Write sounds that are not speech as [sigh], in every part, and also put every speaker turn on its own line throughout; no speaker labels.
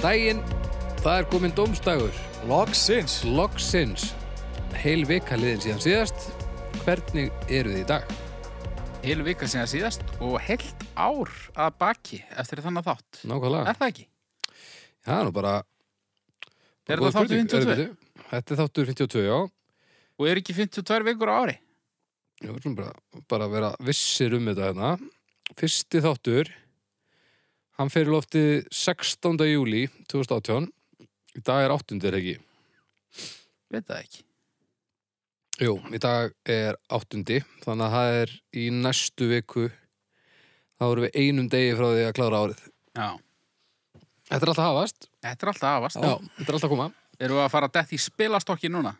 daginn, það er komin dómstagur,
Logsins
loksins, heil vika liðin síðan síðast. Hvernig eru þið í dag?
Heilu vika síðan síðast og heilt ár að baki eftir þannig þátt.
Nákvæmlega.
Er það ekki?
Já, nú bara... bara
Er
góð
það þáttur
spurning.
52?
Er- byrju, Þetta er þáttur 52, já.
Og er ekki 52 vikur á ári?
Ég verðum bara, bara að vera vissir um þetta hérna. Fyrsti þáttur, hann fer í loftið 16. júli 2018. Í dag er 8. er ekki?
Veit það ekki.
Jú, í dag er 8. Þannig að það er í næstu viku, þá erum við einum degi frá því að klára árið.
Já.
Þetta er alltaf að hafast.
Þetta er alltaf afast.
Já, þetta er alltaf að koma.
Erum við að fara að detta í spilastokki núna?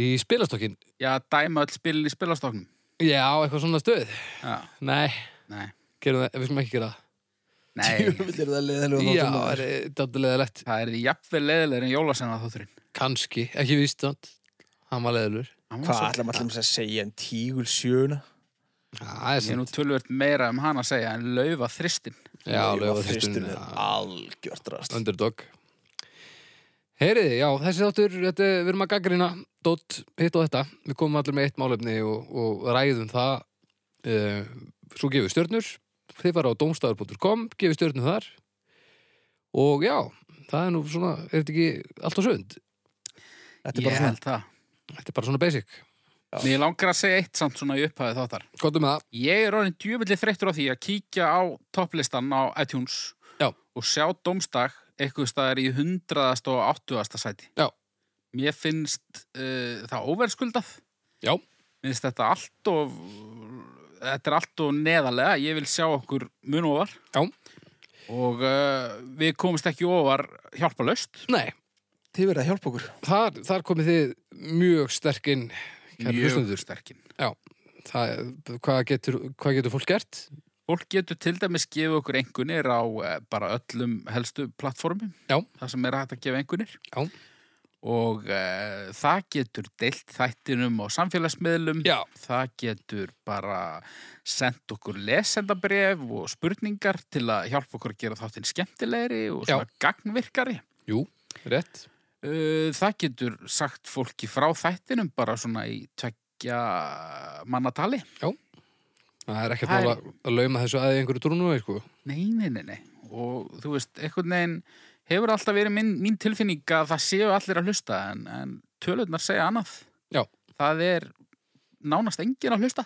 Í spilastokkin,
Já, dæma öll spilin í spilastokknum.
já, eitthvað svona stöð.
Já.
Nei,
Nei.
gerum það, við skulum ekki gera það.
Nei.
er það leðilega
Já, það er dættilega lett.
það er því jafnvel leðilegur en jólasenna þótturinn.
Kanski, ekki víst þannig. Hann var leðilur.
Hvað ætlum allir að segja en tígul sjöuna?
Það er
Ég er nú tölvöld meira um hana að segja en laufa þristinn.
Já, lögða þristun.
er algjört rast
Underdog. Heyriði, já, þessi þáttur, þetta, er- við erum að gaggrina dótt hitt og þetta. Við komum allir með eitt málefni og, og ræðum það. Uh, svo gefum við stjörnur. Þið fara á domstafur.com, gefum stjörnur þar. Og já, það er nú svona, er þetta ekki allt og sund?
Þetta er
Ég
bara svona
held það.
Þetta er bara svona basic.
Mér langar að segja eitt samt svona í upphæði þáttar.
Kottum með það.
Ég er orðin djöfillig þreyttur á því að kíkja á topplistan á iTunes
Já.
og sjá domstag eitthvað staðar í hundraðast og áttuðasta sæti.
Já.
Mér finnst uh, það óverskuldað.
Já.
Mér finnst þetta allt of, þetta er allt of neðalega. Ég vil sjá okkur mun ofar.
Já.
Og uh, við komumst ekki ofar hjálpalaust.
Nei,
Þið verða að hjálpa okkur
þar, þar komið þið mjög sterkinn, kæri
Mjög
hlustendur.
sterkinn.
Það, hvað, getur, hvað getur fólk gert?
Fólk getur til dæmis gefið okkur engunir á eh, bara öllum helstu plattformum.
Já.
Það sem er hægt að gefa engunir.
Já.
Og uh, það getur deilt þættinum á samfélagsmiðlum.
Já,
Það getur bara sendt okkur lesendabref og spurningar til að hjálpa okkur að gera þáttinn skemmtilegri og
Já.
svona gagnvirkari.
jú, rétt.
Uh, það getur sagt fólki frá þættinum bara svona í tveggja mannatali.
Það er ekkert
Það er-
mál að að lauma þessu aðeins einhverju trúnu, sko.
Nei, nei, nei, nei. Og þú veist, einhvern veginn hefur alltaf verið minn, mín tilfinning að það séu allir að hlusta en, en tölurnar segja annað.
Já.
Það er nánast engin að hlusta.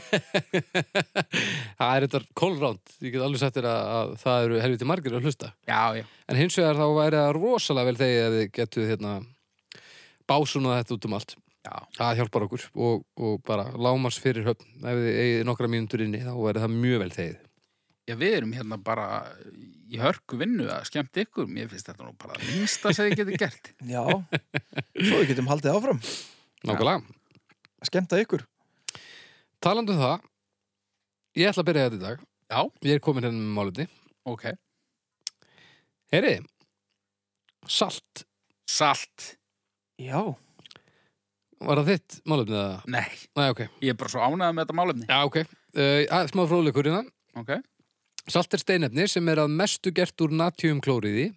[laughs] það er þetta kolránd, ég get alveg sagt þér að, að það eru helviti margir að hlusta.
Já, já.
En hins vegar þá væri það rosalega vel þegar þið getur hérna, básunað þetta út um allt.
Já.
Það hjálpar okkur og, og bara lámars fyrir höfn. Ef þið eigið nokkra mínútur inni þá væri það mjög vel þegið.
Já, við erum hérna bara í hörku vinnu að skemmt ykkur. Mér finnst þetta nú bara að minnsta sem þið getur gert.
Já, svo við getum haldið áfram
Nákvæmlega.
að skemmta ykkur
Talandi um það, ég ætla að byrja þetta í dag.
Já.
Ég er komin hérna með málumni.
[laughs] Ok.
Heyri, salt,
Salt.
Já,
var það þitt málumni? eða?
Nei,
Nei, ok.
ég er bara svo ánægð með þetta málefni.
Já, ok. Uh, að- smá fróðleikur hérna.
Ok.
Salt er steinefni sem er að mestu gert úr natriumklóriði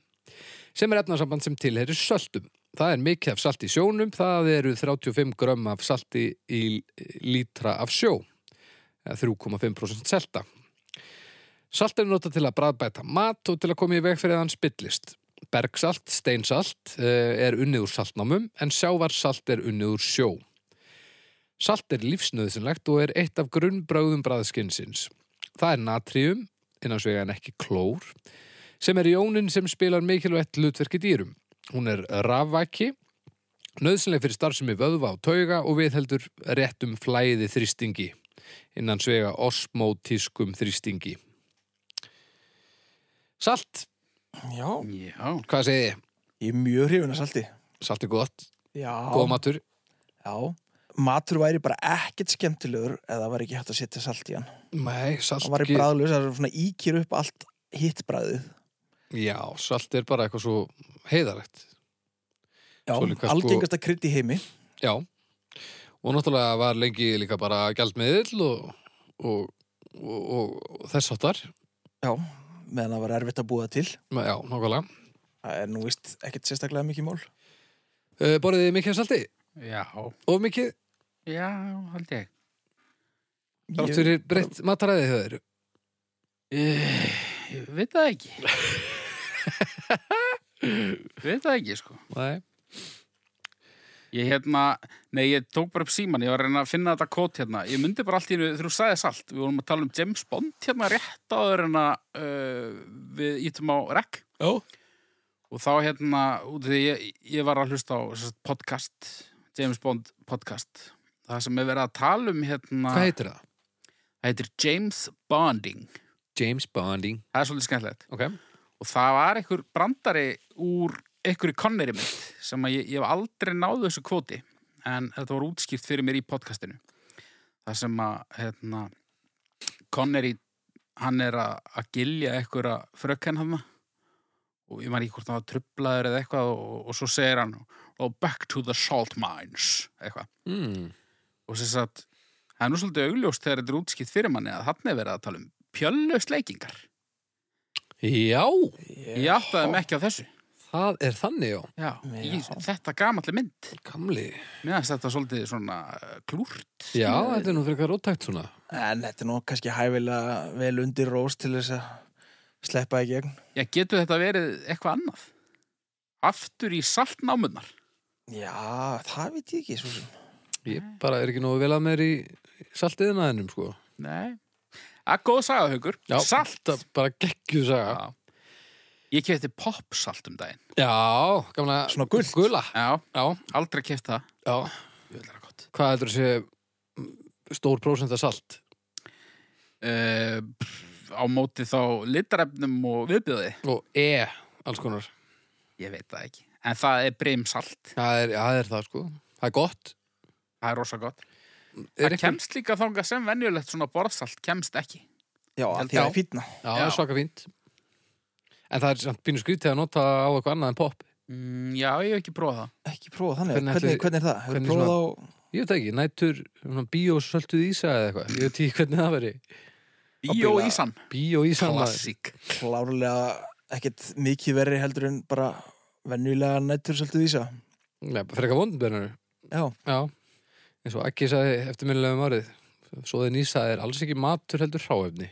sem er efnasamband sem tilherir söltum. Það er mikið af salt í sjónum, það eru 35 grömm af salti í lítra af sjó, eða 3,5% selta. Salt er notað til að bræðbæta mat og til að koma í veg fyrir að hann spillist. Bergsalt, steinsalt, eh, er unnið úr saltnámum en sjávarsalt er unnið úr sjó. Salt er lífsnöðsynlegt og er eitt af grunnbröðum bræðskinnsins. Það er natrium, innan svega en ekki klór, sem er jónin sem spilar mikilvægt hlutverki í dýrum. Hún er rafvæki, nöðsynleg fyrir starfsemi vöðva og tauga og viðheldur réttum flæði þrýstingi, innan svega osmótískum þrýstingi. Salt,
já
Já.
hvað segið þið?
Ég er mjög hrifun að salti
Salt er gott,
Já,
góð matur.
já Matur væri bara ekkert skemmtilegur eða það var ekki hægt að setja salt í hann
Nei, salt,
Það væri
ge-
bræðlös, það er svona íkýr upp allt hitt bræðið
já, salt er bara eitthvað svo heiðarætt.
Já,
Svo líka sko-
algengasta krydd í heimi
Já, og náttúrulega var lengi líka bara gjaldmiðil og, og, og, og, og þess áttar.
Já, meðan það var erfitt að búa það til.
Já, nokkulega.
Það er nú vist ekkert sérstaklega mikið mál.
Uh, borðið þið mikið af salti?
Já,
Of mikið?
já, held ég.
Þrátt fyrir breytt mataræðið hjá þeir.
Eh, Ég veit það ekki. [laughs] Ég veit það ekki, sko.
Nei.
Ég hérna, nei, ég tók bara upp síman, ég var að reyna að finna þetta kót hérna. Ég myndi bara allt í hennu, þegar þú sagði salt, við vorum að tala um James Bond hérna rétt áður en að uh, við ítum á rekk.
Já.
Og þá hérna, út af því ég, ég var að hlusta á sem sagt, podcast, James Bond podcast. Það sem er verið að tala um hérna,
Hvað heitir það?
það heitir James Bonding.
James Bonding.
Það er svolítið skemmtilegt.
Ok.
og það var einhver brandari úr einhverju konneri mitt sem að ég, ég hef aldrei náðu þessu kvoti en þetta var útskýrt fyrir mér í podcastinu það sem að hérna, konneri hann er að, að gilja einhverja frökkenn hann og ég maður ekki hvort hann var trublaður eða eitthvað og, og svo segir hann oh, back to the salt mines eitthvað
Mm.
og sem sagt, það er nú svolítið augljóst þegar þetta er útskýrt fyrir manni að hann er verið að tala um pjöllustleikingar
Já,
ég áttaði mig ekki á þessu
það er þannig, já.
Já,
Já.
Í, þetta gamalli mynd
Gamli.
Mér finnst þetta svolítið svona eh, klúrt
Já, þetta er nú frekar ótækt svona.
En þetta er nú kannski hæfilega vel undir rós til þess að sleppa í gegn.
Já, getur þetta verið eitthvað annað? Aftur í saltnámunnar
Já, það veit ég ekki svo sem.
Ég bara er ekki nógu vel að mér í saltiðnaðinum, sko.
Nei Að góð sagahaukur,
Já,
salt
þetta Bara geggju saga.
Já. Ég kefti popsalt um daginn
Já, gamla.
Svona gult.
Gula.
Já,
Já,
aldrei keft það
já.
Ég vil það gott
Hvað heldur þessi stór prósent af salt?
Eh, pff, Á móti þá litarefnum og viðbjöði
Og E, alls konar.
Ég veit það ekki En það er brimsalt,
Það er, já, það, er það, sko. Það er gott.
það er rosa gott
Er
Það
einhver-
kemst líka þangað sem venjulegt svona borðsalt kemst ekki
Já,
Held-
því að það
já.
er fínna.
Já, það er
Já.
svaka fínt. En það er samt pínu skrítið að nota á eitthvað annað en popp.
mm, Já, ég hef ekki prófað það
Ekki prófa þannig.
Hvernig
Hvernig,
ætli-
hvernig, er það? Hefur
hvernig
prófað á...
Ég veit það ekki, nætur svona bíósölduð ísa eða eitthvað. Ég veit ekki hvernig það veri.
Bíó
Ábyggilega.
Ísan
Bíó ísa maður.
Klassík
klárlega ekkert mikið verri heldur en bara venjulega nættur svolítið vísa.
Nei, frekar vondbjörnur.
Já,
Já. Eins og ekki sagði eftirminnilega um árið. Svoðin ísa er alls ekki matur heldur hráefni.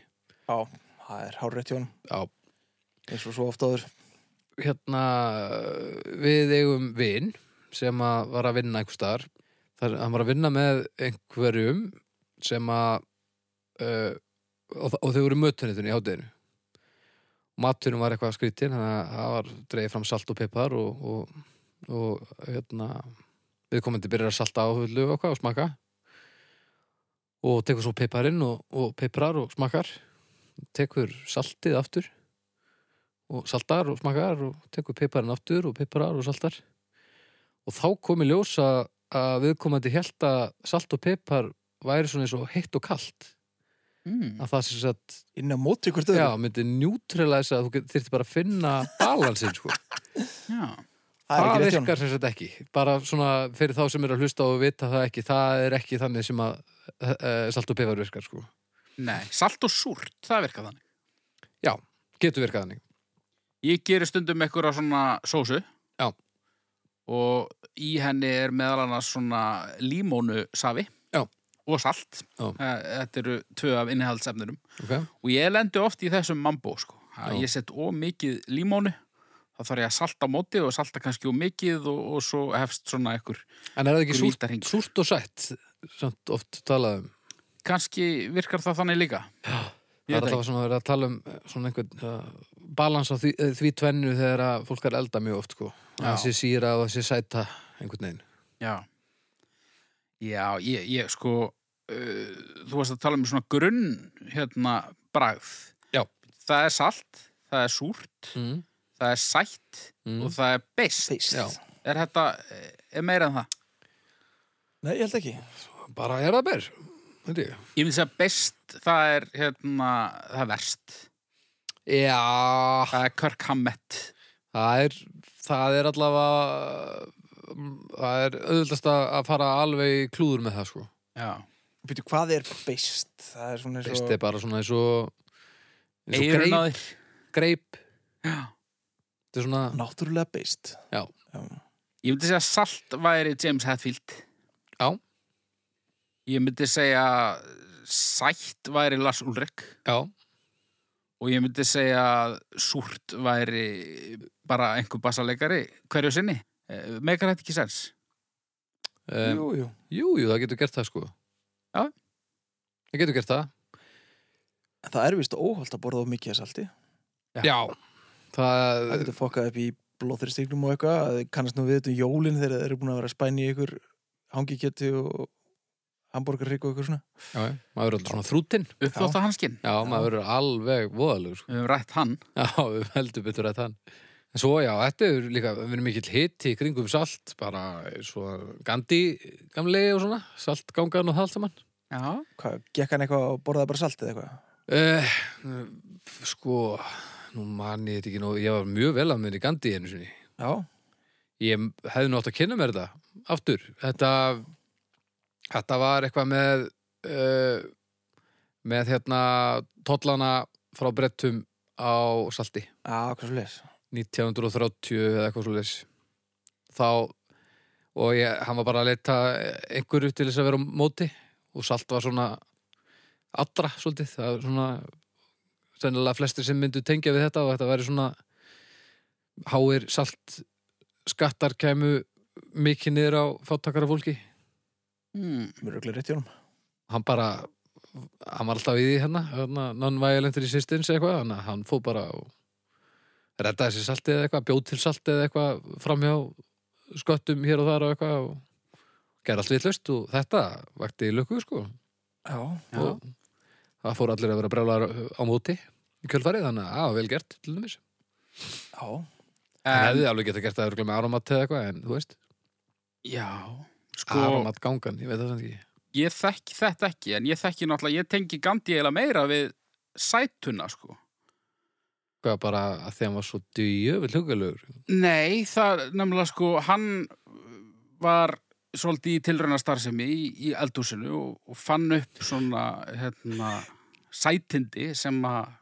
já, það er hárrétt hjá hann
Já.
eins og svo oft áður.
Hérna, við eigum vin sem að var að vinna einhver staðar. Þar, hann var að vinna með einhverjum sem að uh, og, og þau voru mötunitun í hátæðinu. Maturinn var eitthvað skrítin, þannig að það var dreigð fram salt og pepar og, og, og hérna, viðkomandi byrjar að salta á hullu og hvað og smaka og tekur svo peparinn og, og peprar og smakar tekur saltið aftur og saltar og smakar og tekur piparinn aftur og piparar og saltar og þá kom í ljós að, að viðkomandi held að salt og pipar væri svona eins og heitt og kalt
mm.
að það sem sagt,
Inn á móti hvort
já,
öðru.
myndi neutralæsa að þú get- þyrfti bara að finna balansinn sko.
Já,
[laughs] það er
það
ekki rétt hjá hann.
virkar sem sagt ekki bara svona fyrir þá sem eru að hlusta og vita það ekki, það er ekki þannig sem að uh, salt og pipar virkar sko.
nei, salt og súrt, það virka þannig
getur virkað þannig
Ég gerir stundum einhverja svona sósu
Já.
Og í henni er meðal annars svona límónu safi
Já.
Og salt
Já.
Eh, Þetta eru tvö af innihaldsefnunum
okay?
Og ég lendi oft í þessum mambo sko. Að
Já.
Ég sett ómikið límónu þá þarf ég að salta á móti og salta kannski ómikið og, og svo hefst svona einhver
en er það ekki súrt,
vítarhing.
súrt og sætt samt oft talað um
Kannski virkar það þannig líka Ég
Það er
veit
alltaf svona að vera að tala um eh, svona einhvern uh, balans á því, eh, því tvennu þegar að fólk er að elda mjög oft sko. Að
Já.
það sé síra og það sé sæta einhvern veginn.
Já, já ég, ég sko, uh, þú varst að tala um svona grunn, hérna, bragð.
Já.
Það er salt, það er súrt,
Mm.
það er sætt
Mhm.
og það er beist.
Feist.
Já.
Er þetta, eh, er meira en það?
Nei, ég held ekki.
Bara er það ber, veit ég.
Ég myndi segja beist, það er, hérna, það er verst.
Já,
Það er körkhammett.
það er, það er allavega, mm, það er auðvitaðst að fara alveg í klúður með það sko.
Já.
Býtu, hvað er beist? Það er svona eins
Best
og...
er bara svona eins og, eins og
Eyrun á
greip,
þér.
greip
Já.
þetta er svona,
Náttúrulega beist
já,
Ég myndi segja að salt væri James Hetfield.
Já.
Ég myndi segja sætt væri Lars Ulrik
já
og ég myndi segja að súrt væri bara einhver bassaleikari hverju sinni. Eh, Megar þetta ekki sens?
um,
Jú, jú
jú, jú, það getur gert það sko
Já.
það getur gert það
En Það er vist óholt að borða of mikið að salti
Já.
já, það
Það getur fokkað upp í blóðþyrstíknum og eitthvað Það kannast nú við þetta um jólin þegar þeir eru búin að vera að spæna í ykkur hangikjöti og hambúrgarrygg og eitthvað svona
já, já, maður er alltaf svona þrútin já,
Uppþótt á hanskinn.
maður er alveg sko. voðalur
Við höfum rætt hann.
Já, við heldum betur að þann. En svo já, þetta er líka, við erum mikill hitt í kringum salt, bara svo Gandhi gamlegi og svona, saltgangan og það allt saman.
Já.
Hvað, gekk hann eitthvað og borðaði bara salt eða eitthvað?
Uh, sko, nú man ég þetta ekki nú, ég var mjög vel að minni Gandhi einu sinni.
Já,
Ég hefði nú átt að kynna mér þetta, aftur. Þetta, þetta var eitthvað með, uh, með hérna tollana frá brettum á salti.
já, hvað svo leis
1930 eða eitthvað svo leys þá og ég, hann var bara að leita einhverju til þess að vera á móti og salt var svona allra svolítið, það var svona sennilega flestir sem myndu tengja við þetta og þetta væri svona háir salt skattar kæmu mikið niður á fátakara fólki
Mm.
Mér er örugglega rétt hjá honum.
hann bara hann var alltaf í því hérna, hérna non-violent resistance eða eitthvað, þannig að hann fór bara og reddaði sér saltið eða eitthvað bjóð til saltið eða eitthvað framhjá sköttum hér og þar og eitthvað og gerði allt vitlaust og þetta vakti lukku sko
Já,
Já.
og það fór allir að vera brjálar á móti í kjölfarið, þannig að á, vel gert til dæmis.
já
Hann
En,
hefði alveg geta gert það örugglega með aromat eða eitthvað en þú veist,
já.
sko,
Sko,
aromat gangan, ég veit það sem ekki
ég þekki þetta ekki, en ég þekki náttúrulega, ég tengi Gandhi eiginlega meira við sætuna, sko.
hvað bara að því hann var svo djöfull hugalegur
Nei, það er nefnilega sko, hann var svolítið í tilrauna starfsemi í, í eldhúsinu og, og fann upp svona hérna, sætindi sem að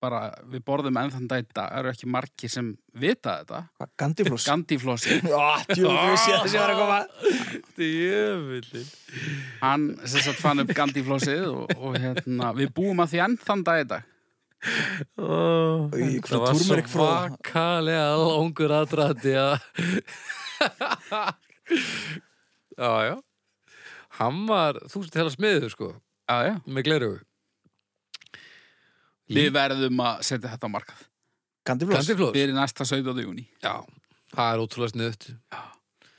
bara við borðum enn þann dæta eru ekki margi sem vita þetta
Hvað, gandiflús? [laughs]
Gandíflósi,
Já, djúlega vissi ég að þessi var að koma
djöfullin
hann sem sagt fann upp Gandíflósið og, og hérna, við búum að því enn þann dæta
Oh,
Í einhverju
það var svo
túrmerikfróða.
vakalega langur aðdrati að Já, já Hann var, þú sem tala smiður sko
Já, já,
með glerugu,
við verðum að setja þetta á markað
Gandiflús?
kandiflóð
fyrir næsta 17. júni
Já, það er ótrúlega sniðut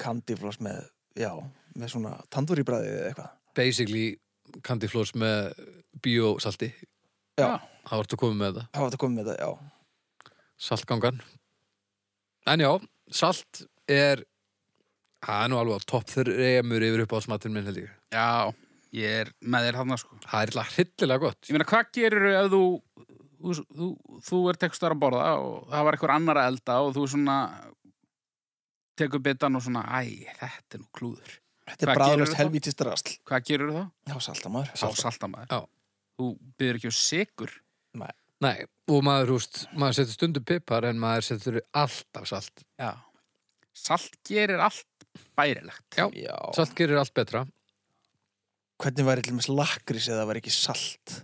Gandiflús með, já, með svona tandurýbræði eða eitthvað
Basically kandiflóðs með biosalti
Já.
Það vartu að koma með það
Það var þetta komið með þetta, já
Saltgangan En já, salt er Það er nú alveg á topp þreymur yfir upp á smattin minn held ég
Já, ég er með þér þarna sko
Það er eitthvað hryllilega gott
Ég meina, hvað gerir ef þú, þú, þú, þú ert eitthvað að borða og það var eitthvað annar að elda og þú svona tekur bitan og svona, æ, þetta er nú klúður.
Þetta
Hvað
er
gerirðu
bræðalust
þá?
helvítist drasl
Hvað gerur þá?
Já, saltamar
Þá salta maður.
Já.
Þú byrður ekki um á sigur.
Nei, og maður, húst, maður setur stundum pipar en maður setur alltaf salt.
Já. Salt gerir allt bærilegt.
Já.
Já
Salt gerir allt betra.
Hvernig væri til með lakrís eða það væri ekki salt?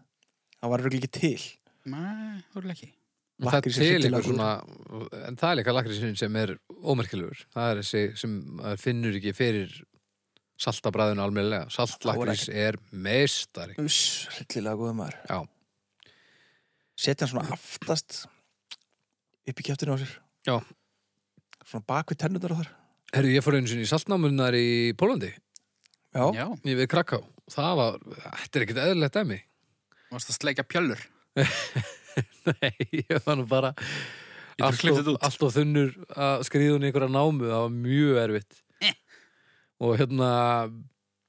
Það var örugglega ekki til
Nei, þú eru ekki.
En Það er
Lakrís er
til
hryllilega
eitthvað svona, en það er líka lakrísinn sem er ómerkilegur. Það er þessi sem maður finnur ekki fyrir saltabræðinu almennilega. Saltlakrís er meistari.
Uss, hryllilega góðum maður
Já,
Setja hann svona aftast upp í kjæftinu á sér
já.
Svona bak við tennundar á þar
Herru, ég fór einu sinni í saltnámunar í Pólandi,
Já,
Já.
ég við Kraká. Það var, þetta er ekkert eðlilegt dæmi.
Varst að sleika pjöllur.
Nei, ég var nú bara
Ég þarf að klippa þetta út.
allt og þunnur að skriða hún í einhverja námu það var mjög erfitt
Eh.
og hérna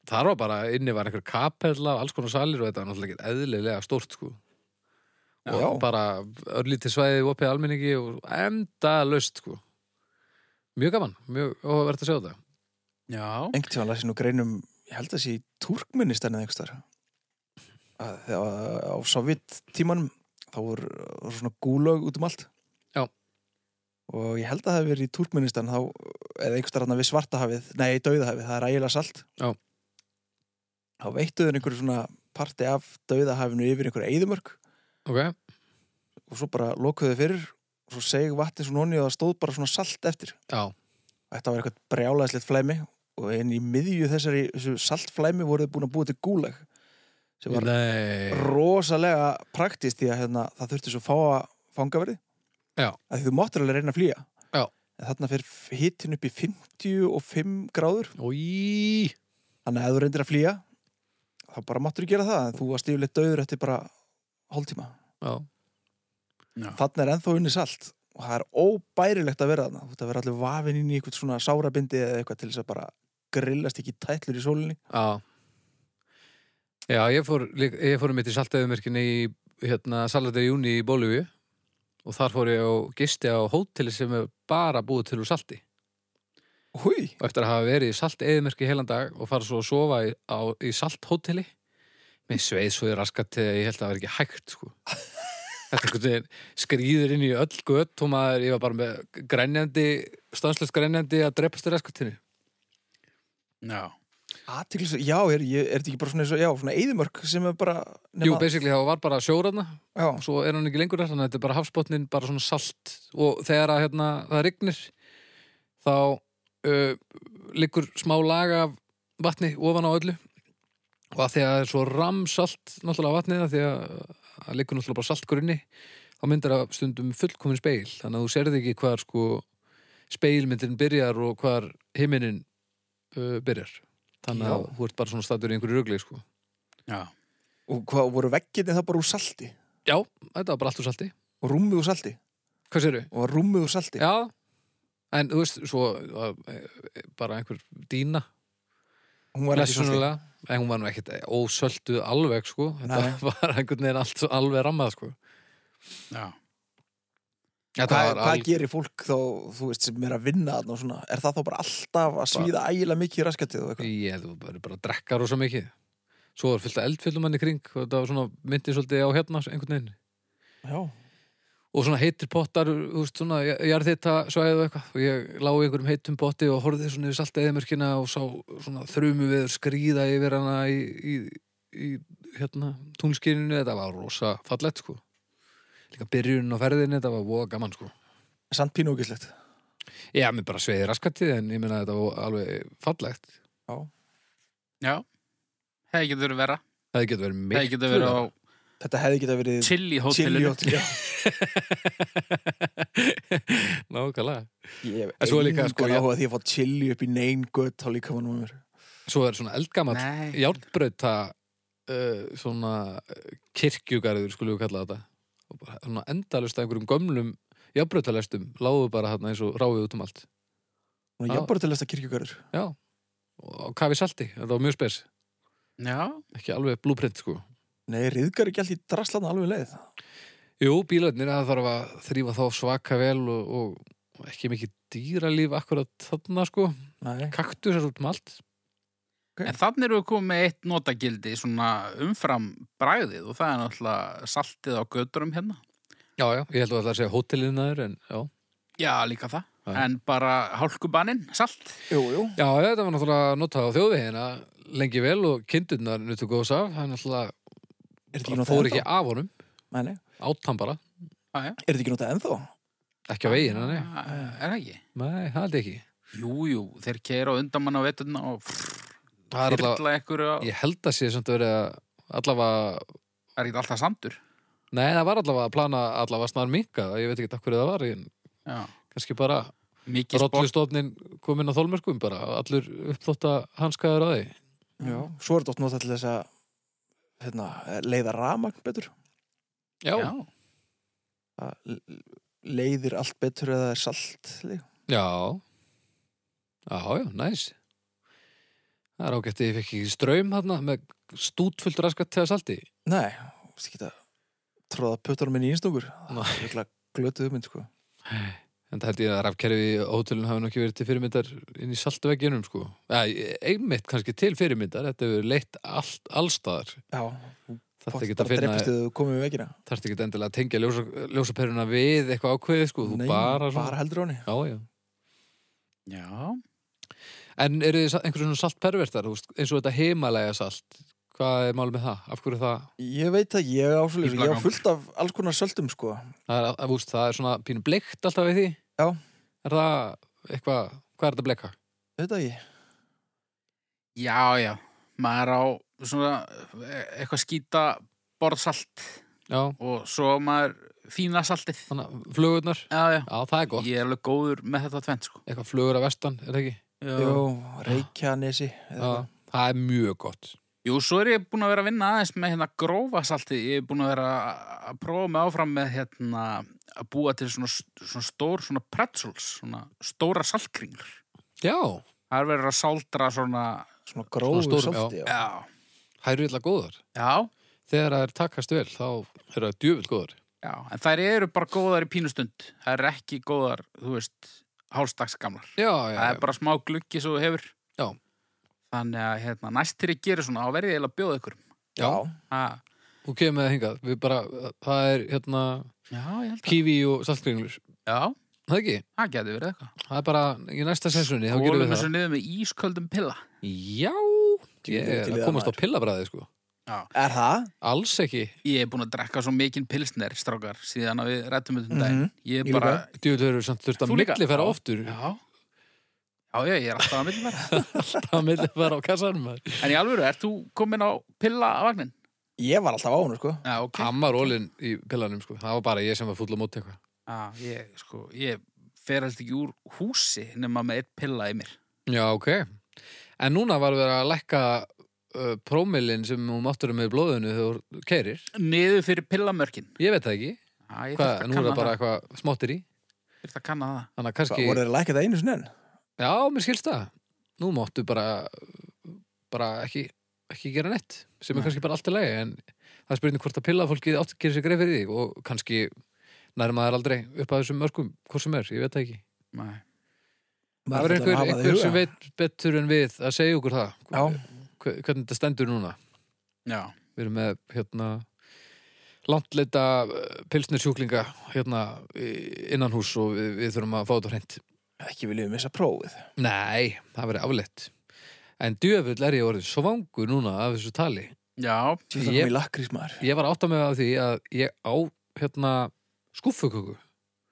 þar var bara inni var einhver kapella og alls konar salir og þetta var náttúrulega ekkert eðlilega stórt sko og
Já.
bara örlítið svæðið opið almenningi og enda löst sko mjög gaman, mjög óverð að sjá þetta
Já.
einhvern tíðan læsi nú greinum ég held að sé í Turkmenistan eða einhvers þar að þegar á sovjet tímanum þá voru voru svona gúlög út um allt
Já.
og ég held að það hefur verið í Turkmenistan þá, eða einhvers þarna við svartahafið nei, dauðahafið, það er ægilega salt
Já.
þá veittuður einhverju svona parti af dauðahafinu yfir einhverju eyðumörk
ok,
og svo bara lokuðu fyrir og svo seg vatni svona onni og það stóð bara svona salt eftir
já,
þetta var eitthvað brjálæðislegt flæmi og en í miðju þessari þessu saltflæmi voru þau búin að búa til gúlag sem var
nei
rosalega praktist því að hérna, það þurfti svo fáa fangaverði
Já.
að því þú máttur alveg reyna að flýja
Já.
en þarna fyrir hittin upp í 55 gráður
Í,
þannig að ef þú reyndir að flýja þá bara máttur þú gera það en þú varst yfirleitt döður eftir bara hálftíma
já,
þannig er ennþá unni salt og það er óbærilegt að vera þarna þú ert að vera allir vafin inn í eitthvað svona sárabindi eða eitthvað til þess að bara grillast ekki í tætlur í sólinni
já Já, ég fór, líka- ég fór um eitt í saltaðumerkinni í hérna, Salata Júni í Bólivíu og þar fór ég og gisti á hóteli sem er bara búið til úr salti
Húi,
og eftir að hafa verið í salt eðmerki heilan dag og fara svo að sofa í, á, í salthóteli með sveið svo ég raskat til að ég held að það var ekki hægt sko. þetta einhvern veginn skrýður inn í öll gött og maður, ég var bara með grænjandi stanslust grænjandi að drepast í raskatinu
Já.
aðtiklis, já, er, ég, er þetta ekki bara svona, eins og- já, svona eðimörk sem er bara
Jú, basically það var bara sjóraðna
já,
og svo er hann ekki lengur þar þannig að þetta er bara hafsbotnin, bara svona salt og þegar að hérna, það rignir þá uh, liggur smá laga af vatni ofan á öllu og að því að það er svo ramsalt náttúrulega vatnið að því að það liggur náttúrulega bara saltgrunni þá myndar það stundum fullkomin speil þannig að þú serði ekki hvar sko speilmyndin byrjar og hvar himinin uh, byrjar þannig að
Já.
þú ert bara svona statur í einhverju rugli sko.
Já.
og hvað voru veggirni það bara úr salti
Já, þetta var bara allt úr salti
og rúmið úr salti,
Hvað sérðu?
og var rúmið úr salti
Já, en þú veist, svo eh, bara einhver dýna
hún var ekki í salti,
blessunulega, en hún var nú ekkit ósölduð alveg, sko þetta
Nei.
[laughs] var einhvern veginn allt, svo alveg rammað, sko
Já.
Þetta
hvað,
var
hvað
al-
gerir fólk þá, þú veist, sem er að vinna þarna og svona, er það þá bara alltaf að svíða ægilega mikið í raskatið og eitthvað,
Ég, þú bara, bara drekkar og svo mikið Svo var fullt af eldfjöldum hann í kring og þetta var svona myndið svolítið á hérna einhvern veginn
já,
og svona heitir pottar, þú veist, svona jarðhita svæðið og eitthvað og ég lá í einhverjum heitum potti og horfði svona yfir salta eðimörkina og sá svona þrumu við skrýða yfir hana í, í, í hérna, túnskirinu þetta var rosa fallett, sko líka byrjun á ferðinni, þetta var voða gaman, sko
samt pínúkislegt
Já, mér bara sveiði raskatið, en ég meina þetta var alveg fallegt
Já. Hefði getur verið vera.
Það getur verið miklu
Hefði getur verið á
þetta hefði geta verið
Chili
Chili
hótelinu.
hótel, já.
[laughs] Nákvæmlega
Ég
En
hef
svo er líka,
engan
sko, já.
áhuga því að fá chili upp í neyn gött á líka mann og mér.
Svo er svona eldgamall
Nei.
járnbrauta uh, svona uh, kirkjugarður skulum við kalla þetta og bara svona endalust af einhverjum gömlum járnbrautalestum lágu bara hérna eins og ráfið út um allt
Nú,
Já.
ég bara til þess að kirkjugarður.
já, og kafi salti þetta var mjög spes,
Já.
ekki alveg blúprint sko
Nei, riðgar ekki allt í draslan alveg leið.
jú, bílarnir það þarf að þrýfa þá svaka vel og, og ekki mikið dýralíf akkurat þarna sko,
Nei.
kaktusar út um allt
En þannig erum við komið með eitt notagildi svona umfram bragðið og það er náttúrulega saltið á göturum hérna.
já, já, ég held að það að segja hótelinnaður en já
Já, líka það.
Já.
En bara hálkubaninn, salt.
Jú, jú.
Já, þetta var náttúrulega notað á þjóðvegina lengi vel og kindurnar nutu góðs af, hann náttúrulega
Er þetta ekki notað
fór ekki
ennþá?
af honum,
Nei, nei.
átt hann bara,
Já, já.
Er þetta ekki notað ennþá?
ekki á veginn, nei,
Ah, Er það ekki?
nei, það er ekki.
Jú, jú, þeir keira á undan mann á veturna og
Það er allavega,
fyrla ykkur og
ég held að sé samt að vera allavega,
það er ekki alltaf sandur.
nei, það var allavega að plana allavega snar minka, ég veit ekki af hverju það var, en
Já.
kannski bara
Mikið sport.
rollustofnin komin á þólmörkum bara, allur uppþótta hanskaður á því.
Já. Mm. Svo er þetta oft notað til þess að hérna, leiða ramagn betur.
Já, já,
Það l- leiðir allt betur eða er salt. líka.
já, já, næs. Það er ágætt að ég fekk ekki ströym þarna með stútfullt raskat til að salti.
Nei, þú veist ekki að tróða puttunum minn í einstungur.
Nei.
Það er eitthvað glötuðu mynd, sko.
En það held ég að rafkerfi á hótelun hafi nú ekki verið til fyrirmyndar inn í saltvegginum sko. Ja, einmitt kannski til fyrirmyndar, þetta hefur leitt allt, allstaðar.
Já.
Þetta
Pottet
ekki að
bara
finna,
dreppist ef þú komið við veggina
þarf ekki endilega að tengja ljósa, ljósaperuna við eitthvað ákveðið, sko, þú
Nei,
bara svona.
heldur á henni
Já, já.
Já.
En eru þið sa- einhver svona saltpervertar, þú veist, eins og þetta heimalega salt, hvað er mál með það? Af hverju það,
Ég veit að ég á svo
Í
ég á
blakang.
fullt af alls konar söltum sko
það er, að, úst, það er svona pínu bleikt alltaf við því?
Já.
Er það eitthvað, hvað er þetta bleika?
Þetta ég
Já, já, maður á svona eh, eitthvað skýta borðsalt
Já,
og svo á maður fína saltið.
þannig að flugurnar,
Já, já,
já, það er gott.
ég er alveg góður með þetta tvend, sko.
Eitthvað flugur af vestan, er það ekki?
Jó, Reykjanesi eða
Já, það er mjög gott.
Jú, svo er ég búin að vera að vinna aðeins með hérna grófa saltið. Ég er búin að vera að prófa með áfram með hérna að búa til svona, svona stór, svona pretzels, svona stóra saltkringlur.
Já,
Það er verið að saldra svona,
eitthvað. svona gróðu
stór-
sölti já.
já,
það eru illa góðar.
já,
Þegar það er takast vel, þá eru það djöfull góðar.
já. En þær eru bara góðar í pínustund. Það er ekki góðar, þú veist, hálfstagsgamlar.
Já, já,
það
já.
er bara smá gluggi sem þú hefur
Já.
þannig að hérna, næst til ég gerir svona þá verði ég eiginlega að bjóða ykkur
Já.
ha.
Þú kemur með það hingað, við bara, það er hérna
já, ég held að
kífi og saltkringlur.
já,
Það ekki?
það getur verið eitthvað
Það er bara í næsta sessunni, þá gerum
gólum
við
þessu
það.
niður með ísköldum pilla
Já,
Ég
ég
er
er
til í
að
það,
komast á
maður.
pillabræði, sko.
Er það?
Alls ekki,
ég er búin að drekka svo mikinn pilsner strákar síðan að við rættum þetta um
Mhm.
daginn ég
Ég
er bara
djúvill verður samt þurft að
Þú líka?
milli færa
Já.
oftur. [laughs]
já. já, já, ég er alltaf að millum vera
Það milli færa á kassanum. maður.
en í alvöru, ert þú komin á pilla að vagnin?
Ég var alltaf á hennu sko
já, ok
Hann var ólinn í pillanum, sko. Það var bara ég sem var full á móti eitthvað.
já, ég, sko, ég fer alltaf ekki úr húsi nema með eitt pilla í mér
Já, ok. En núna var við að lækka uh, prómilin sem hún máttur með í blóðinu þegar þú keirir.
niður fyrir pillamörkin
Ég veit það ekki.
já, ég
Hvað,
þurfti að
nú er
kanna
það bara
það.
eitthvað smáttir í.
Þurfti að kanna það
Þannig að
Hvað,
kannski...
voru þeir lækjað það einu sinni enn?
Já, mér skilst það. Nú máttu bara, bara ekki, ekki gera neitt, sem er
Nei.
kannski bara allt í lagi, en það er spurning hvort að pilla fólkið átt að gera sér greið fyrir því og kannski nær maður aldrei upp að þessum mörgum, hvort sem er, ég veit það ekki.
Nei.
Það verður einhver, einhver sem veit betur en við að segja okkur það,
Já,
Hve- hvernig þetta stendur núna.
Já.
Við erum með, hérna, landleita pilsnir sjúklinga hérna í- innan hús og við, við þurfum að fá þetta hreint.
ekki viljum missa prófið
Nei, það verið aflegt En djöfull er ég orðin svangur núna af þessu tali
Já,
Ég
Ég-
kom í lakrís maður
Ég var að átta mig af því að ég á hérna skúffuköku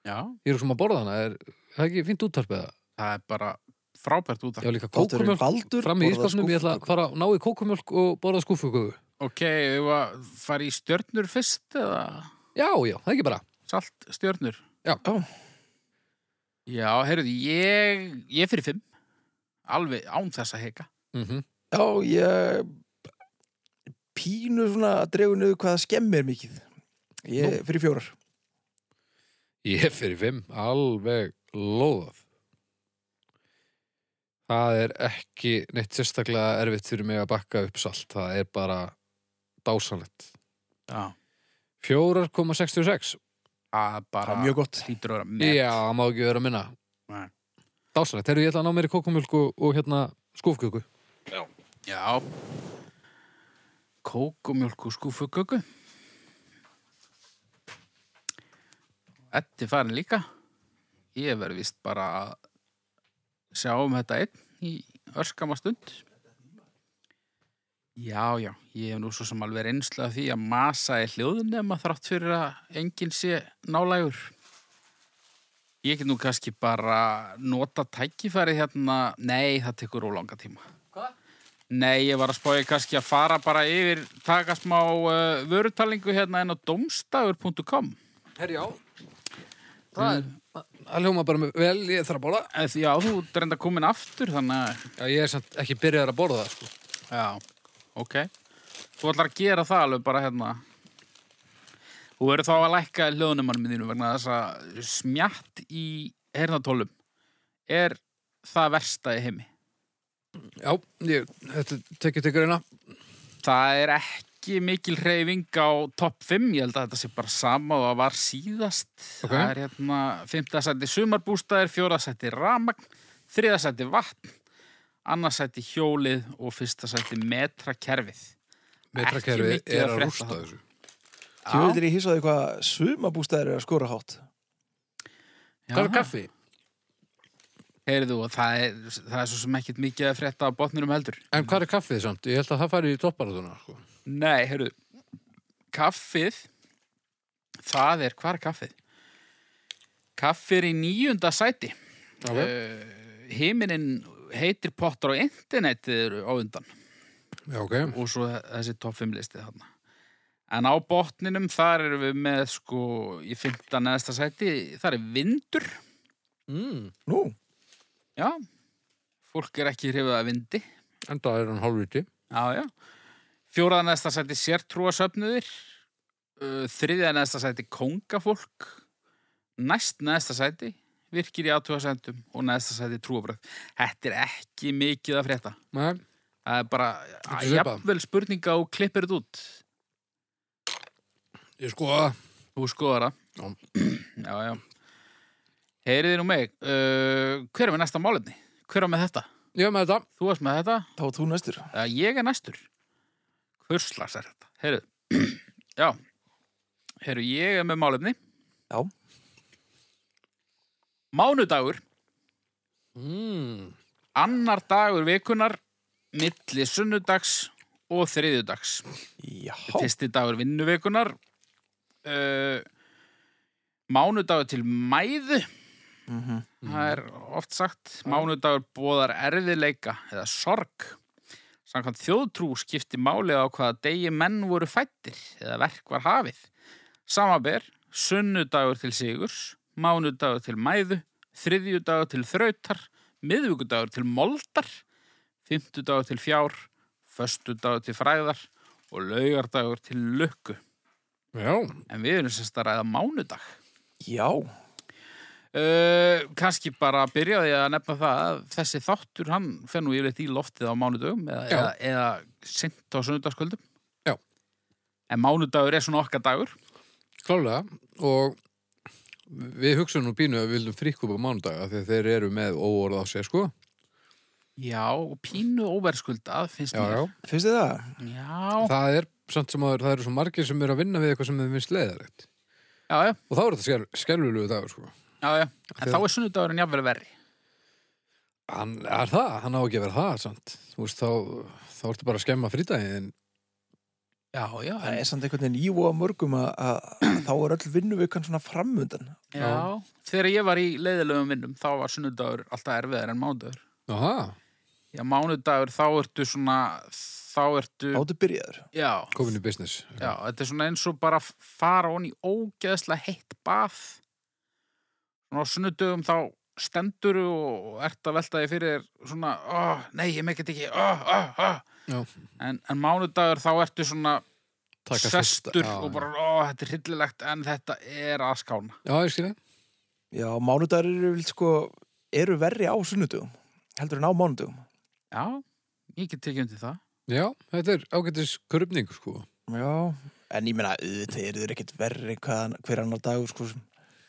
já,
Ég er sem að borða hana, er það ekki fínt úttarpið það?
það er bara frábært út af.
Ég á líka
Þátturinn
kókumjölk
Baldur
fram í
borðar
ískapnum, ég ætla að
skúffuköku.
fara að ná í kókumjölk og borða skúffuköku
Ok, ef að fara í stjörnur fyrst eða
Já, já, það er ekki bara
salt stjörnur?
Já.
Já.
Já, heyrðu, ég, ég fyrir fimm. Alveg án þess að heika.
mm
Já, ég pínu svona að dregu niður hvað það skemmir mikið ég, Fyrir fjórar
Ég er fyrir fimm, alveg loðað Það er ekki neitt sérstaklega erfitt fyrir mig að bakka upp salt Það er bara dásanlegt
Já.
4,66
Það er
Það
bara
er mjög gott
hlýtur að vera með.
Já, það má ekki vera að minna
Nei.
Dásanlegt, herru ég ætla að ná mér í kókumjölk og, og hérna skúfköku
Já. Kókumjólk og skúfuköku. Þetta er farin líka. Ég verð vist bara að sjá um þetta einn í örskama stund. Já, já, ég hef nú svo sem alveg reynslu af því að masa í hljóðunema þrátt fyrir að enginn sé nálægur. Ég get nú kannski bara nota tækifærið hérna, nei, það tekur ólanga tíma. Nei, ég var að spája kannski að fara bara yfir, taka smá uh, vörutalingu hérna en á domstafur.com.
Herru já Það er Það hljóma bara með vel, ég þarf að borða
Eh, Já, þú ert reynda komin aftur, þannig að,
Já, ég er samt ekki byrjaður að borða það sko.
já, ok. Þú ætlar að gera það alveg bara hérna. Þú verður þá að lækka hljóðnumanum þínu vegna þess að smjatt í hernatólum er það versta í heimi.
Já, ég, þetta tekið til greina
Það er ekki mikil hreyfing á topp 5, ég held að þetta sé bara sama og það var síðast.
Ok.
Það er hérna 5. seti sumarbústaðir, 4. seti ramagn, 3. seti vatn, 2. seti hjólið og 1. seti metrakerfið.
metrakerfi
mikið
er
að
að
frétta
rústa
þarna.
þessu
Tjóðir ég hýsaði hvað sumabústæðir er að skora hátt.
Hvað er kaffi?
Heyrðu, og það er, það er svo sem ekkit mikið að frétta á botninum heldur.
En hvað er kaffið samt? Ég held að það fari í topparatuna sko.
Nei, heyrðu, kaffið, það er, hvað er kaffið? Kaffið er í nýjunda sæti.
uh,
Himinin Eh, heitir pottar á internetið eru á undan
Já, ok
og svo þessi topp 5 listið þarna. En á botninum þar erum við með sko í 15. neðsta sæti, þar er vindur.
mm.
Nú,
Já, fólk er ekki hrifið að vindi.
Enda er hann hálfviti
Já, já. Fjóraða næsta sæti sértrúasöfnuðir, uh, þriðja næsta sæti kongafólk, næst næsta sæti virkir í aðtúasendum og næsta sæti trúabröð. Þetta er ekki mikið að frétta.
Nei,
Það er bara,
er
að
svipað.
jafnvel spurninga og klippir þetta út.
ég sko að
Þú skoðar
Já.
það. [clears throat] Já, já. Heyriði nú mig, uh, hver er með næsta málefni? Hver er með þetta?
Ég er með þetta
Þú varst með þetta?
þá er þú næstur.
að ég er næstur hverslas er þetta heyrðu, [clears throat] já heyrðu, ég er með málefni
Já.
mánudagur,
mm.
annar dagur vikunar milli sunnudags og þriðjudags
Jáhá.
fyrsti dagur vinnuvikunar uh, mánudagur til mæðu
Mm -hmm.
það er oft sagt mánudagur bóðar erfiðleika eða sorg samkvæmt þjóðtrú skipti máli á hvaða degi menn voru fættir eða verk var hafið samaber, sunnudagur til sigurs mánudagur til mæðu þriðjudagur til þrautar miðvíkudagur til moldar fymtudagur til fjár föstudagur til fræðar og laugardagur til lukku
Já,
en við erum sérst að ræða mánudag
Já.
Uh, kannski bara byrjaði að nefna það að þessi þáttur hann fer nú yfirleitt í loftið á mánudögum eða,
Já.
eða, eða sent á sunnudagskvöldum
Já.
en mánudagur er svona okkar dagur
klálega Og við hugsaum nú pínu að við vildum fríkkupa mánudaga Þegar þeir eru með óorð á sér sko
já, og pínu óverskuldað finnst
Já, já
Finnst þið það?
mér já,
Það er samt sem áður, það eru svo margir sem eru að vinna við eitthvað sem þeim finnst leiðarlegt.
já, já,
Og þá er þetta skel, skelvulegu dagur, sko.
já, já. en þá er sunnudagurinn jafnvel verri
Hann er það, hann á ekki að vera það, samt. Þú veist, þá, þá ertu bara að skemma frítaginn.
já, já,
Það
en,
er samt einhvern veginn ívoga mörgum að, að þá er öll vinnuvikan svona framundan.
já þegar ég var í leiðilegum vinnum þá var sunnudagur alltaf erfiðar en mánudagur
Aha,
já, mánudagur þá ertu svona þá ertu,
Áttu byrjaður.
já,
komin í business.
Já, þetta er svona eins og bara f- fara hon í ógeðslega heitt bað. Svona á sunnudögum þá stendur og ert að velta því fyrir þér svona, oh, nei, ég mekkert ekki, oh, oh, oh.
Já.
En, en mánudagur þá ertu svona
Taka
sestur
fyrsta- já,
og bara, oh, þetta er hryllilegt en þetta er að skána.
Já, ég skilja.
Já, mánudagur eru vel sko, eru verri á sunnudugum. Heldur en á mánudugum.
Já, ég get tekið undir það.
Já, þetta er ágættis krupning, sko.
Já. En ég meina, auðvitað eru þeir ekkert verri hvaðan, hver annar dagur sko. sem-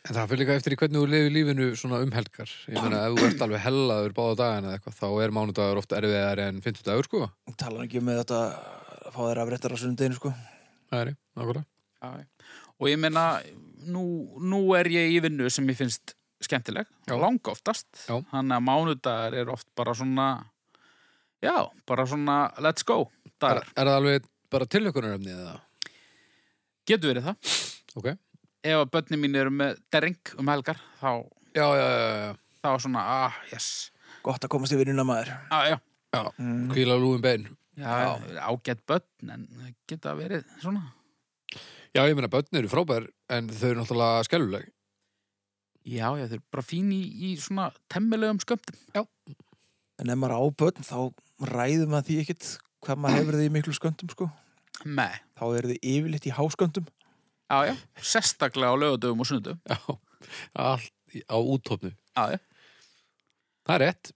En það fyrir líka eftir í hvernig þú lifir lífinu svona um helgar. Ég meina, ef þú ert alveg hellaður báða dagana eða eitthvað, þá er mánudagur oft erfiðar en fimmtudagur, sko.
Tala ekki um með þetta að fá þeir afréttar á sunnudeginu sko.
Það er, nákvæmlega.
Já. Og ég meina, nú, nú er ég í vinnu sem ég finnst skemmtileg,
Já.
langa oftast.
Já.
Þannig að mánudagar er oft bara svona, já, bara svona let's go
Er,
dagar.
er það alveg bara tilökunaröfni eða?
Getur verið það.
Ok.
Ef að börnin mín eru með derring um helgar, þá,
Já, já, já, já.
þá svona, ah, yes.
Gott að komast í vinnuna maður.
Ah, já,
Mm.
Kvíla lúin bein.
já, ágætt börn, en það geta verið svona.
Já, ég meina, börn eru frábær en þau eru náttúrulega skelluleg.
Já, já, þau eru bara fín í, í svona temmilegum skömmtum.
En ef maður á börn þá ræðum maður því ekkert hvað maður hefur því miklu sköndum sko.
Nei,
Þá eru þið yfirleitt í hásköndum.
já, já, sérstaklega á lögadöfum og sunnudöfum.
Já, allt í- á útofnu.
Já, já.
Það er rétt.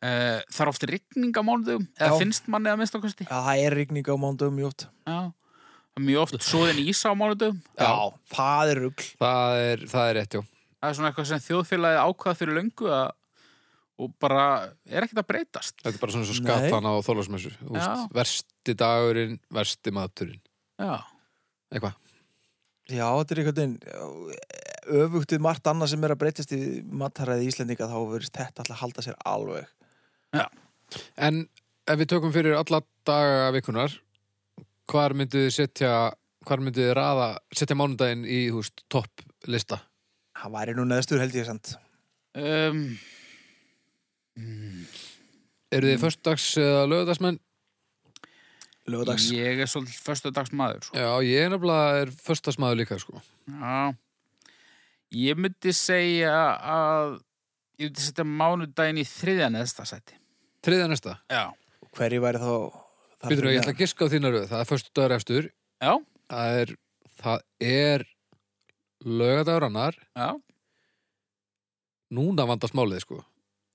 Uh, það er ofta rigning á mánudögum eða
Já.
finnst manni að minnsta kosti
Já, það er rigning á mándagum mjótt.
Já. Það er mjög oft svoðin ís á mánudögum
Já.
Það er rugl.
Það er, það er rétt, já.
það er svona eitthvað sem þjóðfélagi ákvað fyrir löngu að og bara er ekkert að breytast.
Þetta er bara svona svo
Nei.
skatana á þólasmessu. Þú
Já.
veist, Versti dagurinn, versti maturinn.
Já,
Eitthvað.
Já, þetta er einhvern veginn já, öfugt við margt annað sem er að breytast í mataræði Íslendinga þá verðist þetta alltaf að halda sér alveg
En ef við tökum fyrir alla daga vikunar, hvar myndu þið setja, hvar myndu þið raða, setja mánudaginn í, þú veist, topp lista?
Það væri nú neðstur held ég samt
um,
Eru þið mm. förstags eða lögðagsmenn?
Lögadags
ég er svolítið föstudags maður. Svo.
Já, ég er nefnilega er förstagsmaður líka, sko.
Já, ég myndi segja að ég myndi setja mánudaginn í þriðja neðsta sæti.
Þriðja næsta.
Já.
Hverju væri þá þar
Býtur,
fyrir
ég ætla að giska á þína röð. Það er förstudagur efstur.
Já,
Það er, það er lögadagur annar.
já.
Núna vandast málið, sko.
neðan?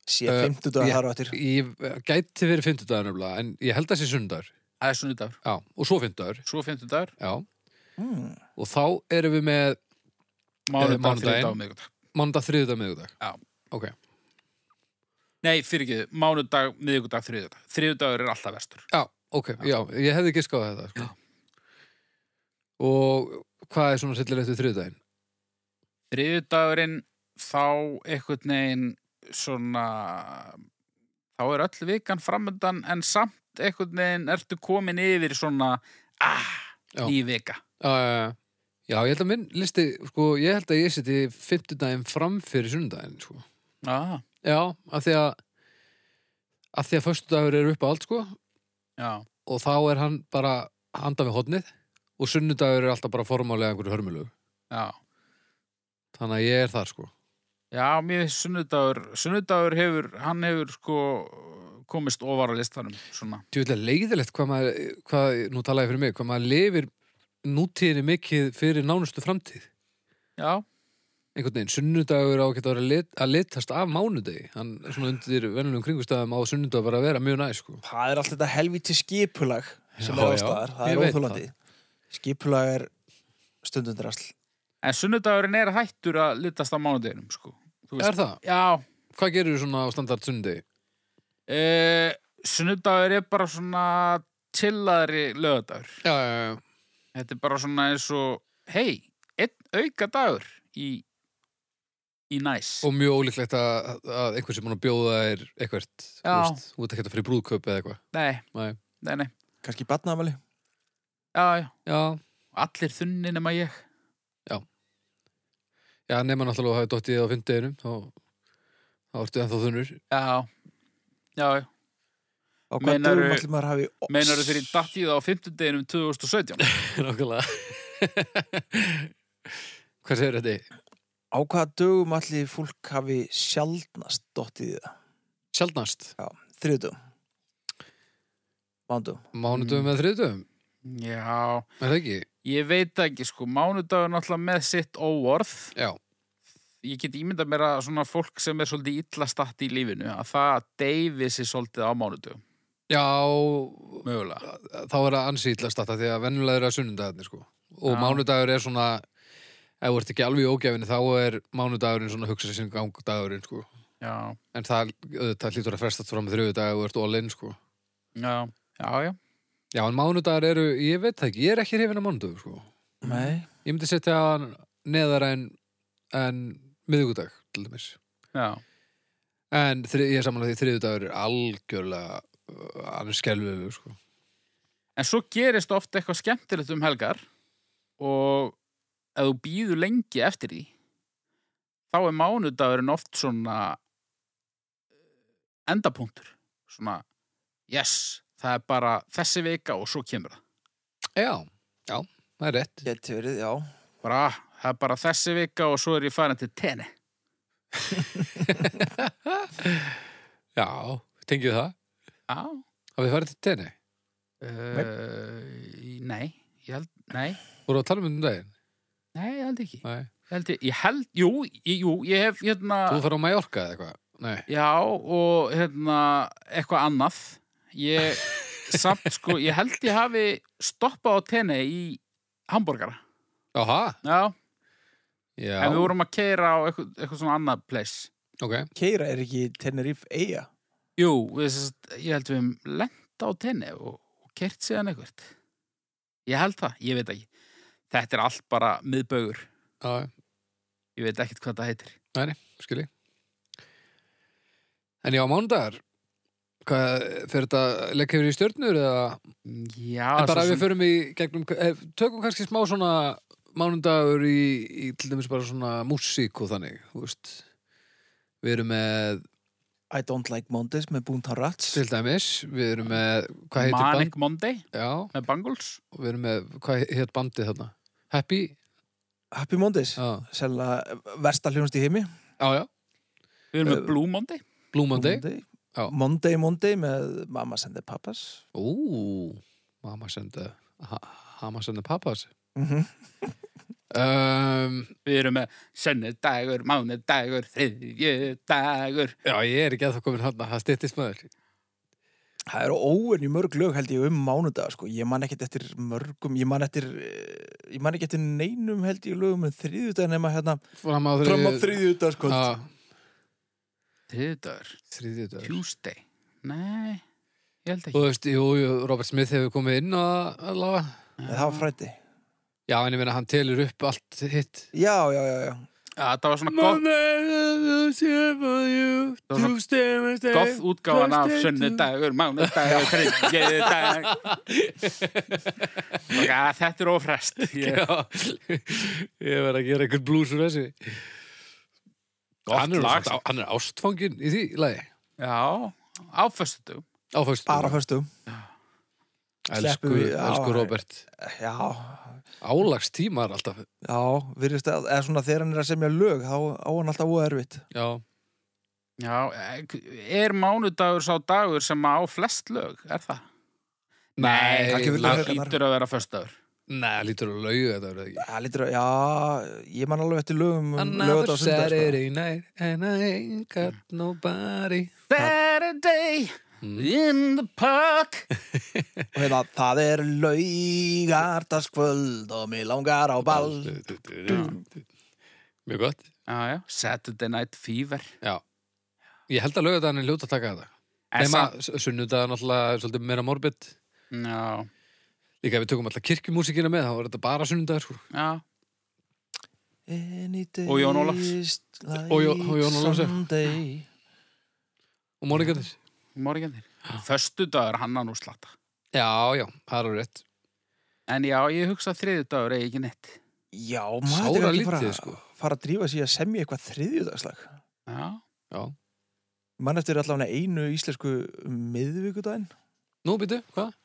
Sé
Uh,
50 dagar
ég-
þar á eftir
Ég gæti verið fimmtudagur nefnilega, en ég held að sé sunnudagur.
Það er sunnudagur.
Já, og svo fimmtudagur,
Svo fimmtudagur,
já.
mm.
Og þá erum við með
mánudag,
mánudaginn.
þriðdag og miðvikudag.
mándag, þriðudag, miðugudag.
Já.
Ok,
Nei, fyrir ekki, mánudag, miðvikudag, þriðdag. Þriðdagur er alltaf vestur.
já, ok, já, ég hefði giskað á þetta, sko. Og hvað er svona sillir eftir þriðudaginn?
Þriðdagurinn, þá einhvern veginn svona, þá er öll vikan framöndan en samt einhvern veginn ertu komin yfir svona, ah,
Já.
ný vika.
Já, já, já. Já, ég held að minn listi, sko, ég held að ég seti fimmtudaginn fram fyrir sunnudaginn, sko.
Já,
Já, af því að, af því að föstudagur er upp á allt, sko,
já,
og þá er hann bara handa við hodnið og sunnudagur er alltaf bara formálega einhverju hörmulug.
já.
Þannig að ég er þar, sko.
Já, mér finnst sunnudagur, sunnudagur hefur, hann hefur sko komist ofar á listanum, svona.
Tjóðlega leiðilegt hvað maður, hvað, nú tala ég fyrir mig, hvað maður lifir nútíðinni mikið fyrir nánustu framtíð.
Já,
Einhvern veginn, sunnudagur á að geta að, lit, að litast af mánudegi. Hann er svona undir vennulegum kringustæðum á sunnudag bara að vera mjög næ, sko.
Það er alltaf þetta helvíti skipulag sem
Já,
er
já,
ástæðar, það
ég
er
veit
óþólandi Skipulag er stundundrasl
en sunnudagurinn er hættur að litast á mánudeginum, sko. Þú
Er það?
Já,
Hvað gerir þú svona á standart sunnudegi?
e, sunnudagur er bara svona tillaðri lögadagur.
Já, já, já.
Þetta er bara svona eins og, hei, einn auka dagur í, í næs.
Og mjög ólíklegt að, að einhver sem búin að bjóða er eitthvert, þú
Já.
veist, þú veit ekki að fyrir brúðkaup eða eitthvað.
Nei,
Nei.
nei, nei,
Kanski batnaðamæli
já, já,
Já,
allir þunni nema ég.
Já, nema náttúrulega að hafa dottið á fyndeginum þá, þá ertu ennþá þunnur
Já, já, já.
Á hvað
Meinarðu-
dögum allir maður hafi
Meinar þau fyrir dattið á 50 deginum 2017?
Nákvæmlega [laughs] Hvað segir þetta?
Á hvaða dögum allir fólk hafi sjaldnast dottið í það?
Sjaldnast
Þriðdögum Mándum
Mánudöfum eða þriðdöfum,
Já,
er það ekki?
ég veit það ekki sko, mánudagur náttúrulega með sitt óorð.
Já,
Ég get ímyndað mér að svona fólk sem er svolítið illa statt í lífinu, að það deyfi sér svolítið á mánudagum,
já
mögulega.
þá er það ansi illa starta því að venjulega eru að sunnudagarnir sko og
Já.
mánudagur er svona ef þú ert ekki alveg í ógefinu þá er mánudagurinn svona hugsa sér gangdagurinn sko
Já,
en það, það hlýtur að frestast fram með þriðudag og ert all-in sko
já, já, já.
Já, en mánudagur eru, ég veit það ekki, ég er ekki hrifin af mánudagur sko
Nei
Ég myndi setja hann neðar en, en miðvíkudag, til dæmis.
Já,
En þri, ég er samanlega því þriðudagur er algjörlega uh, hann er skelfið, sko.
en svo gerist ofta eitthvað skemmtilegt um helgar og ef þú býður lengi eftir því, þá er mánudagurinn oft svona eh, endapunktur. Svona, yes, það er bara þessi vika og svo kemur það.
Já, já, það er rétt.
Geti verið, já
bara, "Ah, það er bara þessi vika og svo er ég farin til tenni.
Já, tengið það.
Já.
Hafið þið farið til tenni?
Uh, nei, ég held, nei,
Voru að tala um þetta um daginn?
nei, ég held ekki.
Nei.
Ég held, ég- ég held, jú, ég, jú, ég hef, hérna,
Þú farið á Mallorca eða eitthvað? Nei.
já, og hérna, eitthvað annað. Ég, samt, sko, ég held ég hafi stoppað á tenni í hambúrgara.
Aha,
Já,
já.
en við vorum að keira á eitthvað, eitthvað svona annað place.
ok.
Keira er ekki Tenerife eiga
Jú, við sest, ég held við um lenda á tenni og, og kert síðan eitthvað. Ég held það, ég veit ekki. Þetta er allt bara miðbaugur.
Já, já,
Ég veit ekkert hvað það heitir.
skilji. En já, mánudagar, hvað, fyrir þetta leik hefur í stjörnur eða?
Já,
En bara
Ah, svo
ef
sem-
við förum í gegnum, ef, tökum kannski smá svona mánudagur í, í til dæmis bara svona músík og þannig, þú veist. Við erum með,
I don't like Mondays með Boomtown Rats
til dæmis, við erum með, hvað heitir
Manic
band?
Monday
Já,
með Bangles.
og við erum með, hvað heit bandið þarna? Happy?
Happy Mondays
Já,
Sennilega versta hljónst í heimi
já, já.
Við erum
Eh,
með Blue Monday.
Blue Monday. Já.
Monday Monday með Mama Send the Papas
Ú, mamma senda, ha, mamma senda pappas.
mm
Mhm. Um,
Við erum með sönnudagur, mánudagur, þriðjudagur.
já, ég er ekki að það komin hann það styttist maður.
Það eru óenni mörg lög held ég um mánudag sko. Ég man ekkert eftir mörgum Ég man, eftir, eh, ég man ekki eftir neinum held ég lögum en þriðjudag nema hérna
Fram á þriðið.
Fram á þriðjudag sko
Já,
Þriðjudagur,
þriðið dagur.
Tuesday. Nei, ég held
Þú
ekki.
veist, jú, jú, Robert Smith hefur komið inn að, að laga.
Það var fræti
Já, en ég meina, hann telur upp allt hitt.
Já, já, já, já
Ja, það var svona gott.
Monday, you,
Það var svona
Tuesday, Wednesday
Goth útgáfan af sunnudagur, mánudagur,
[laughs]
þriðjudag Og að Þetta er ofrest Ég
Já, [laughs] ég verð að gera einhvern blús úr þessu
Gott
hann er, nú
lag.
samt á- hann er ástfangin í því lagi
Já, á föstudum
Áfæstu
Bara föstum
Elsku,
Sleppum við- já,
elsku
já.
Robert
Já,
Álagstímar alltaf
já, virðist að Eða svona þegar hann er að semja lög þá á hann alltaf óerfitt
Já,
Já, er mánudagur sá dagur sem á flest lög, er það?
Nei,
það kemur
lag-
lög-
það lítur að vera föstudagur
Nei, það lítur að lauga þetta verður það ekki
Já, lítur, að- já, ég man alveg eftir lögum um lögat á
Another
sundag sko.
Saturday night and I ain't got nobody
Saturday
Mm.
in the park
Og hérna, það er laugardaskvöld og mig langar á ball
Mjög gott
Já, já, Saturday Night Fever
Já Ég held að löga þetta hann er ljóta að taka þetta
En
Nefna sunnudagar náttúrulega er svolítið meira morbid
samt- Já,
Líka ef við tökum alltaf kirkjumúsikina með þá er þetta bara sunnudagar sko.
já
Any day
Og Jón Ólafs.
is like
Og Jó- og Jón Ólafs, já.
Sunday.
Og morgunir
morgjandir Föstudagur, hann að nú slata
Já, já, það er alveg rétt
En já, ég hugsa að þriðjudagur eigi ekki neitt
Já, maður
Sára
er ekki
lítið
fara,
sko
fara að drífa sér að semja eitthvað þriðjudagslag
Já,
Já.
Man eftir allavega einu íslensku miðvíkudaginn
Nú býtu, hvað?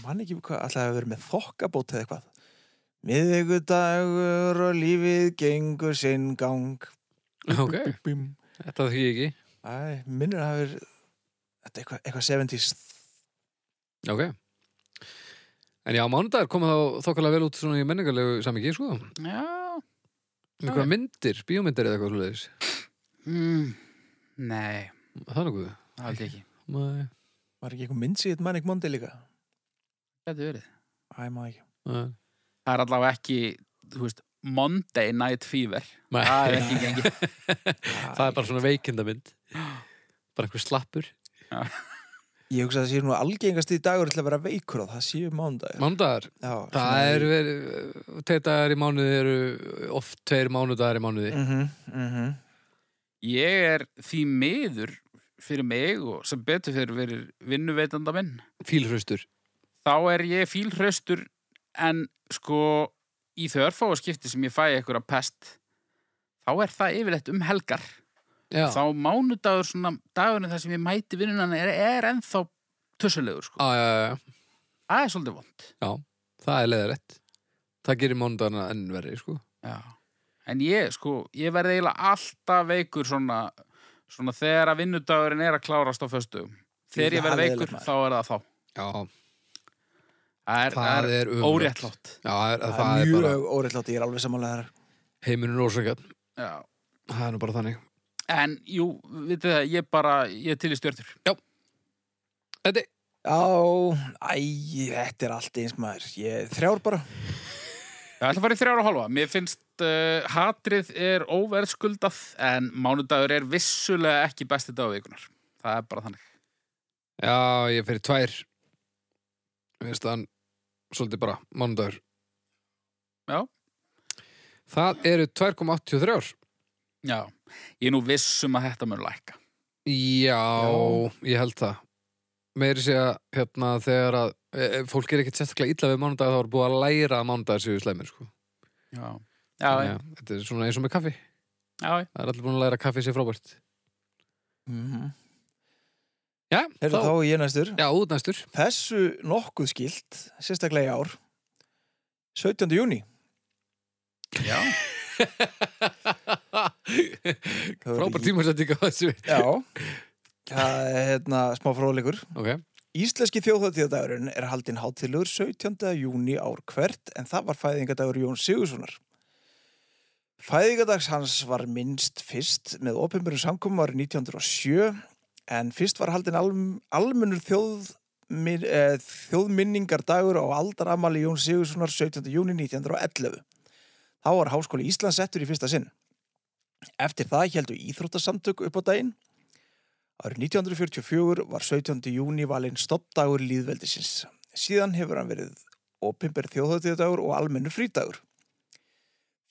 Man ekki hvað, alltaf að vera með þokkabót eða eitthvað Miðvíkudagur og lífið gengur sinn gang
Ok,
Bím.
þetta þykir ég ekki
Æ, minnir að hafa verið Þetta er eitthvað, eitthvað 70s
Ok. En já, mánudagur kom þá þokkalega vel út svona í menningarlegu samingi, sko.
já
Einhverja myndir, bíómyndir eða eitthvað svoleiðis.
Mm, nei,
Það er nokkuð.
það held ég ekki.
Nei,
Var ekki eitthvað myndsýtt Manic Monday líka?
Þetta verið.
Æ, maður ekki
nei.
Það er allavega ekki, þú veist, Monday Night Fever.
Nei.
Það er ekki gengi.
[laughs] Það er bara svona veikindamynd. Bara einhver slappur.
Ég hugsa að það sé nú algengast í dagur til að vera veikur og það séu mánudagur.
Mánudagur,
Já,
það er verið, tveir dagar í mánuði eru oft tveir mánudagar í mánuði.
Mm -hmm, mm -hmm.
Ég er því miður fyrir mig og sem betur fyrir verið vinnuveitanda minn.
Fílhraustur.
Þá er ég fílhraustur en sko í þau örfáaskipti sem ég fæ eitthvað pest, þá er það yfirleitt um helgar.
Já.
Þá mánudagur svona dagurinn þar sem ég mæti vinnunan er, er ennþá tussulegur sko.
Á, já, já, já.
Það er svolítið vond.
Það er leðarett. Það gerir mánudagarna enn verið, sko.
Já. En ég, sko, ég verði eiginlega alltaf veikur svona, svona þegar að vinnudagurinn er að klárast á föstugum. Þegar ég
Það
verði
er
veikur,
maður.
þá er það þá.
Já,
Það er,
það er umrætt.
óréttlátt.
Já, það er,
Það,
það
er
er bara
mjög óreillátt, ég er alveg samanlega þar.
heimurinn ósakað.
Já.
Það er nú bara þannig.
En, jú, vitið það, ég bara, ég er til í stjörtur.
Þetta
Já, æ, þetta er allt eins maður. Ég, þrjár bara.
Ég ætla að fara í þrjára og halva. Mér finnst sagt, uh, hatrið er óverðskuldað en mánudagur er vissulega ekki besti dagveikunar. Það er bara þannig.
Já, ég fyrir tvær Mér finnst þann Svolítið bara, mánudagur
Já.
Það eru 2,83
Já, ég er nú viss um að þetta mun lækka.
Já, ég held það Meiri sé að hérna þegar að e, e, fólk er ekkert sérstaklega illa við mánudag þá er búið að læra að mánudagur séu slæmir sko.
Já, já, já.
Þannig að Þetta er svona eins og með kaffi
já, já.
Það er allir búin að læra að kaffi sé frábært
Mhm.
Já,
Heyrðu, þá er ég næstur
Já, út
[laughs]
næstur
Þessu nokkuð skilt, sérstaklega í ár 17. júni
já.
Frábært tímarsætting á þessu
Já, það er hérna smá fróðleikur
Ok,
Íslenski þjóðhátíðadagurinn er haldinn hátíðlegur 17. júni ár hvert en það var fæðingadagur Jón Sigurssonar. Fæðingadags hans var minnst fyrst með opinbjörn samkomum árið 1907 en fyrst var haldinn alm, almennur þjóð, minn, eh, þjóðminningardagur á aldaramali Jón Sigurssonar 17. júni 1911. Þá var Háskóli Íslands settur í fyrsta sinn. Eftir það heldu íþróttasamtök upp á daginn Árið 1944 var 17. júni valinn stoppdagur líðveldisins. Síðan hefur hann verið opimber þjóðhóttíðadagur og almennu frídagur.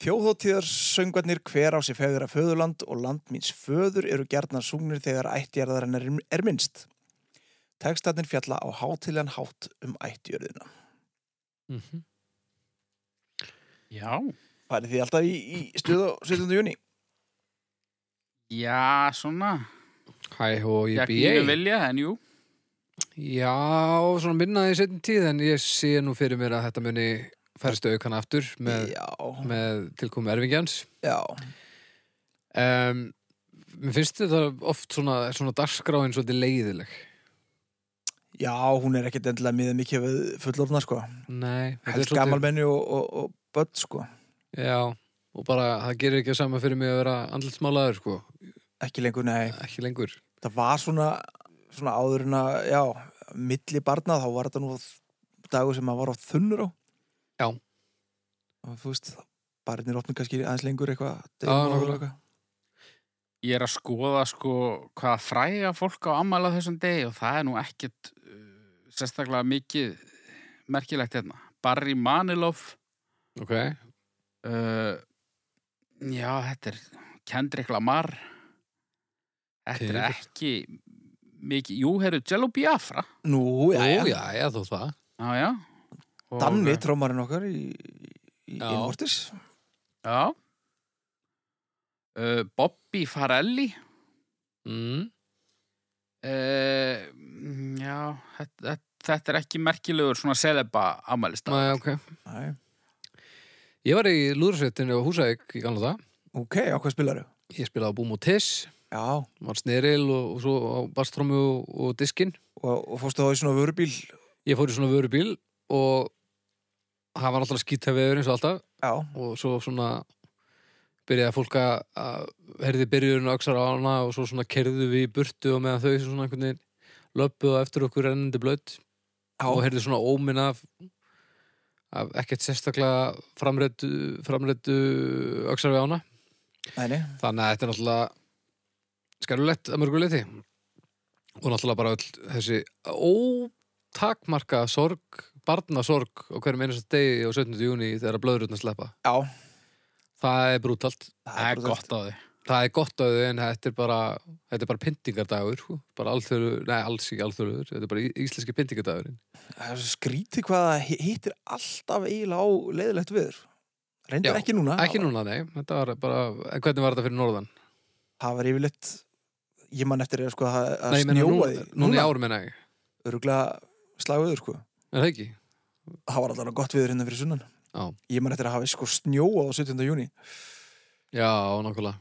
Þjóðhóttíðarsöngvarnir hver á sér fegur að föðurland og land míns föður eru gerðnar sungnir þegar ættjarðarinnar er minnst. Tekstarnir fjalla á hátilegan hátt um ættjörðina.
Já.
Farið þið alltaf í, í stuð á 17. júni?
Já, svona.
hæ og ég
Ég
býi
ekki vilja, en jú.
Já, svona minnaði í setjum tíð en ég sé nú fyrir mér að þetta muni færstu aukana aftur með,
Já,
með tilkomu erfingjans
já.
um, Mér finnst þetta oft svona, svona dagskráin svolítið leiðileg
Já, hún er ekkert endilega miða mikið við fullorðna sko.
Nei, þetta er
Helst gamalmenni og, og, og börn sko.
Já, og bara það gerir ekki sama fyrir mig að vera andlitsmálaður sko,
Ekki lengur, nei.
ekki lengur
Það var svona, svona áður en að, já, milli barna þá var þetta nú dagur sem maður var oft þunnur á.
Já.
Og þú veist, barnir opnir kannski aðeins lengur eitthvað.
Já,
deginum áður
nákvæmlega.
eitthvað.
Ég er að skoða sko hvaða fræga fólk á ammæla þessum degi og það er nú ekkit uh, sérstaklega mikið merkilegt hérna. Barry Manilow,
Ok,
uh, já þetta er Kendrick Lamar, þetta er
Kyrr.
ekki mikið, jú, herru, Jello Biafra,
Nú, já, já.
já, já, þó það
já, já. Og-
Danni, trómarinn okkar í, í
Já.
innvortis.
eh, Já. Uh, Bobby Farelli,
mm.
Uh, já, þetta, þetta, þetta er ekki merkilegur svona seleba ammælista.
Nei, ok
Nei.
Ég var í lúðursveitinu á Húsæk í gamla það.
Ok, á hvað spilaru?
Ég spilaði á Búm og Tiss,
Já,
var sneril og, og svo á baströmmu og, og diskinn.
og, og fórstu þá í svona vörubíl.
Ég fór í svona vörubíl og það var náttúrulega skýta veður eins og alltaf
Já,
og svo svona byrjaði fólk að- að herði byrjurinn og öxar á hana og svo svona kerðu við í burtu og meðan þau svona einhvern veginn löppuðu á eftir okkur ennandi blödd
Já.
og herði svona óminn af, af ekkert sérstaklega framrættu, framrættu öxar við ána
neini.
Þannig að þetta er náttúrulega skerulegt að mörgu leyti og náttúrulega bara öll þessi ótakmarka sorg, barnasorg á hverjum einasta degi á 17. júni þegar blöðrutna sleppa.
Já,
Það er brútalt.
það er
bara
gott á því.
Það er gott að þau en þetta er bara, þetta er bara pyntingardagur, sko. bara alþjóður, nei alls ekki alþjóður, þetta er bara í- íslenski pyntingardagurinn.
Það er svo skrítið hvað það hi- hittir alltaf eiginlega á leiðilegt viður. Reyndar
Já,
ekki núna.
Ekki núna, nei, þetta var bara, en hvernig var þetta fyrir norðan?
Það var yfirleitt, ég man eftir að sko að að
nei, ég meina
snjóaði.
núna, núna í ár menna ég,
Öruglega slagviður sko.
er það ekki?
Það var allavega gott viður hérna fyrir sunnan.
Já.
Ég man eftir að hafa sko snjóað á 17. júni.
Já, nokkulega.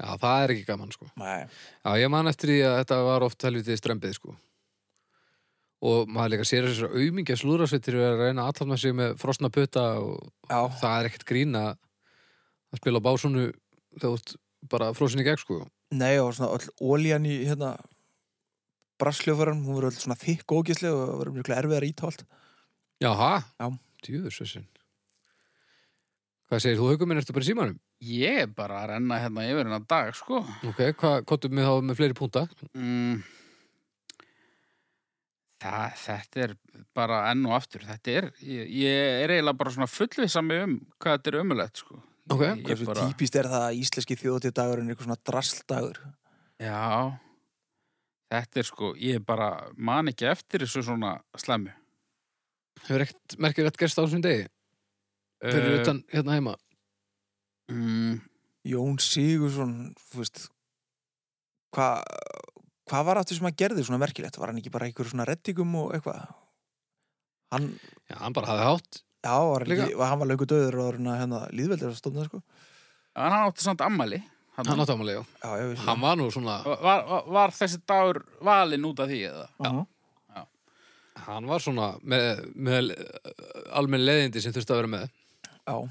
Já, það er ekki gaman, sko.
Nei.
Já, ég man eftir því að þetta var oft helvitið strempið, sko. Og maður líka sér þessar aumingja slúðrasveitir að reyna að aðtafna sig með frosna putta og
Já,
það er ekkert grín að að spila á básunu þegar þú ert bara frosin í gegn, sko.
nei og svona öll ólíjan í hérna brassljófaran, hún verður öll svona þykk og ógislega og verður mjög erfið að rýta allt.
Jaha,
Já.
djúður sveitsin. Hvað segir þú, haukum minn, ertu bara í símanum?
Ég er bara að renna hérna yfir hennar dag, sko.
Ok, hvað kottum við þá með fleiri púnta?
Mm. Það, þetta er bara enn og aftur. Þetta er, ég, ég er eiginlega bara svona fullvisami um hvað þetta er ömulegt, sko.
Ok,
Ég- ég
Hversu típist er það að íslenski þjóðtíðdagur er einhver svona drastdagur?
Já, þetta er sko, ég er bara man ekki eftir þessu svona slemmu.
hefur ekkert merkir rétt gerst á þessum degi fyrir utan hérna heima
Eh, Mm,
Jón Sigursson, þú veist, hvað hva var aftur sem hann gerði svona merkilegt? Var hann ekki bara einhver svona reddingum og eitthvað? Hann,
Já, hann bara hafði hátt
já, var hann, ekki,
Líka.
hann var löngu döður og hérna líðveldir að stofna, sko.
en hann átti samt ammali.
Hann átt ámali, já
Já, já, við
Hann var nú svona
Var, var, var þessi dagur valinn út af því eða?
Já.
Hann var svona með, með eh, almenn leðindi sem þurfti að vera með
Já,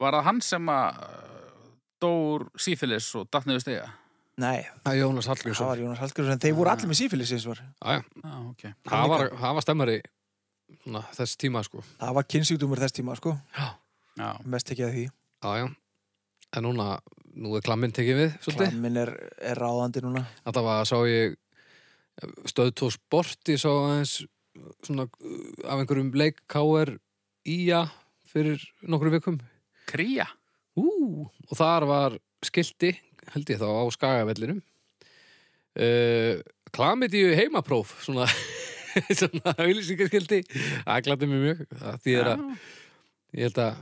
Var það hann sem að uh, dóur sífilis og datniðu stega?
nei,
Það er Jónas
það
Hallgrímsson
var Jónas Hallgrímsson, en þeir voru allir með sífélis eins og var.
Já, já.
Já, ok.
Hann var, hann var stemmari svona, þess tíma, sko
Það var kynnsjúkdómur þess tíma, sko,
Já,
Já,
mest ekki að því.
já, já. En núna, nú er klamminn tekið við svolítið
Klammin er, er ráðandi núna.
Þetta var, sá ég stöð tó sporti, sá aðeins svona uh, af einhverjum leik KR Ía fyrir nokkru vikum
kría.
Ú, og þar var skilti, held ég þá, á skagavellinum. Uh, Klamidíu heimapróf, svona, [laughs] svona auðlýsingarskilti. Það glætti mér mjög, það þýðir að, ég held að,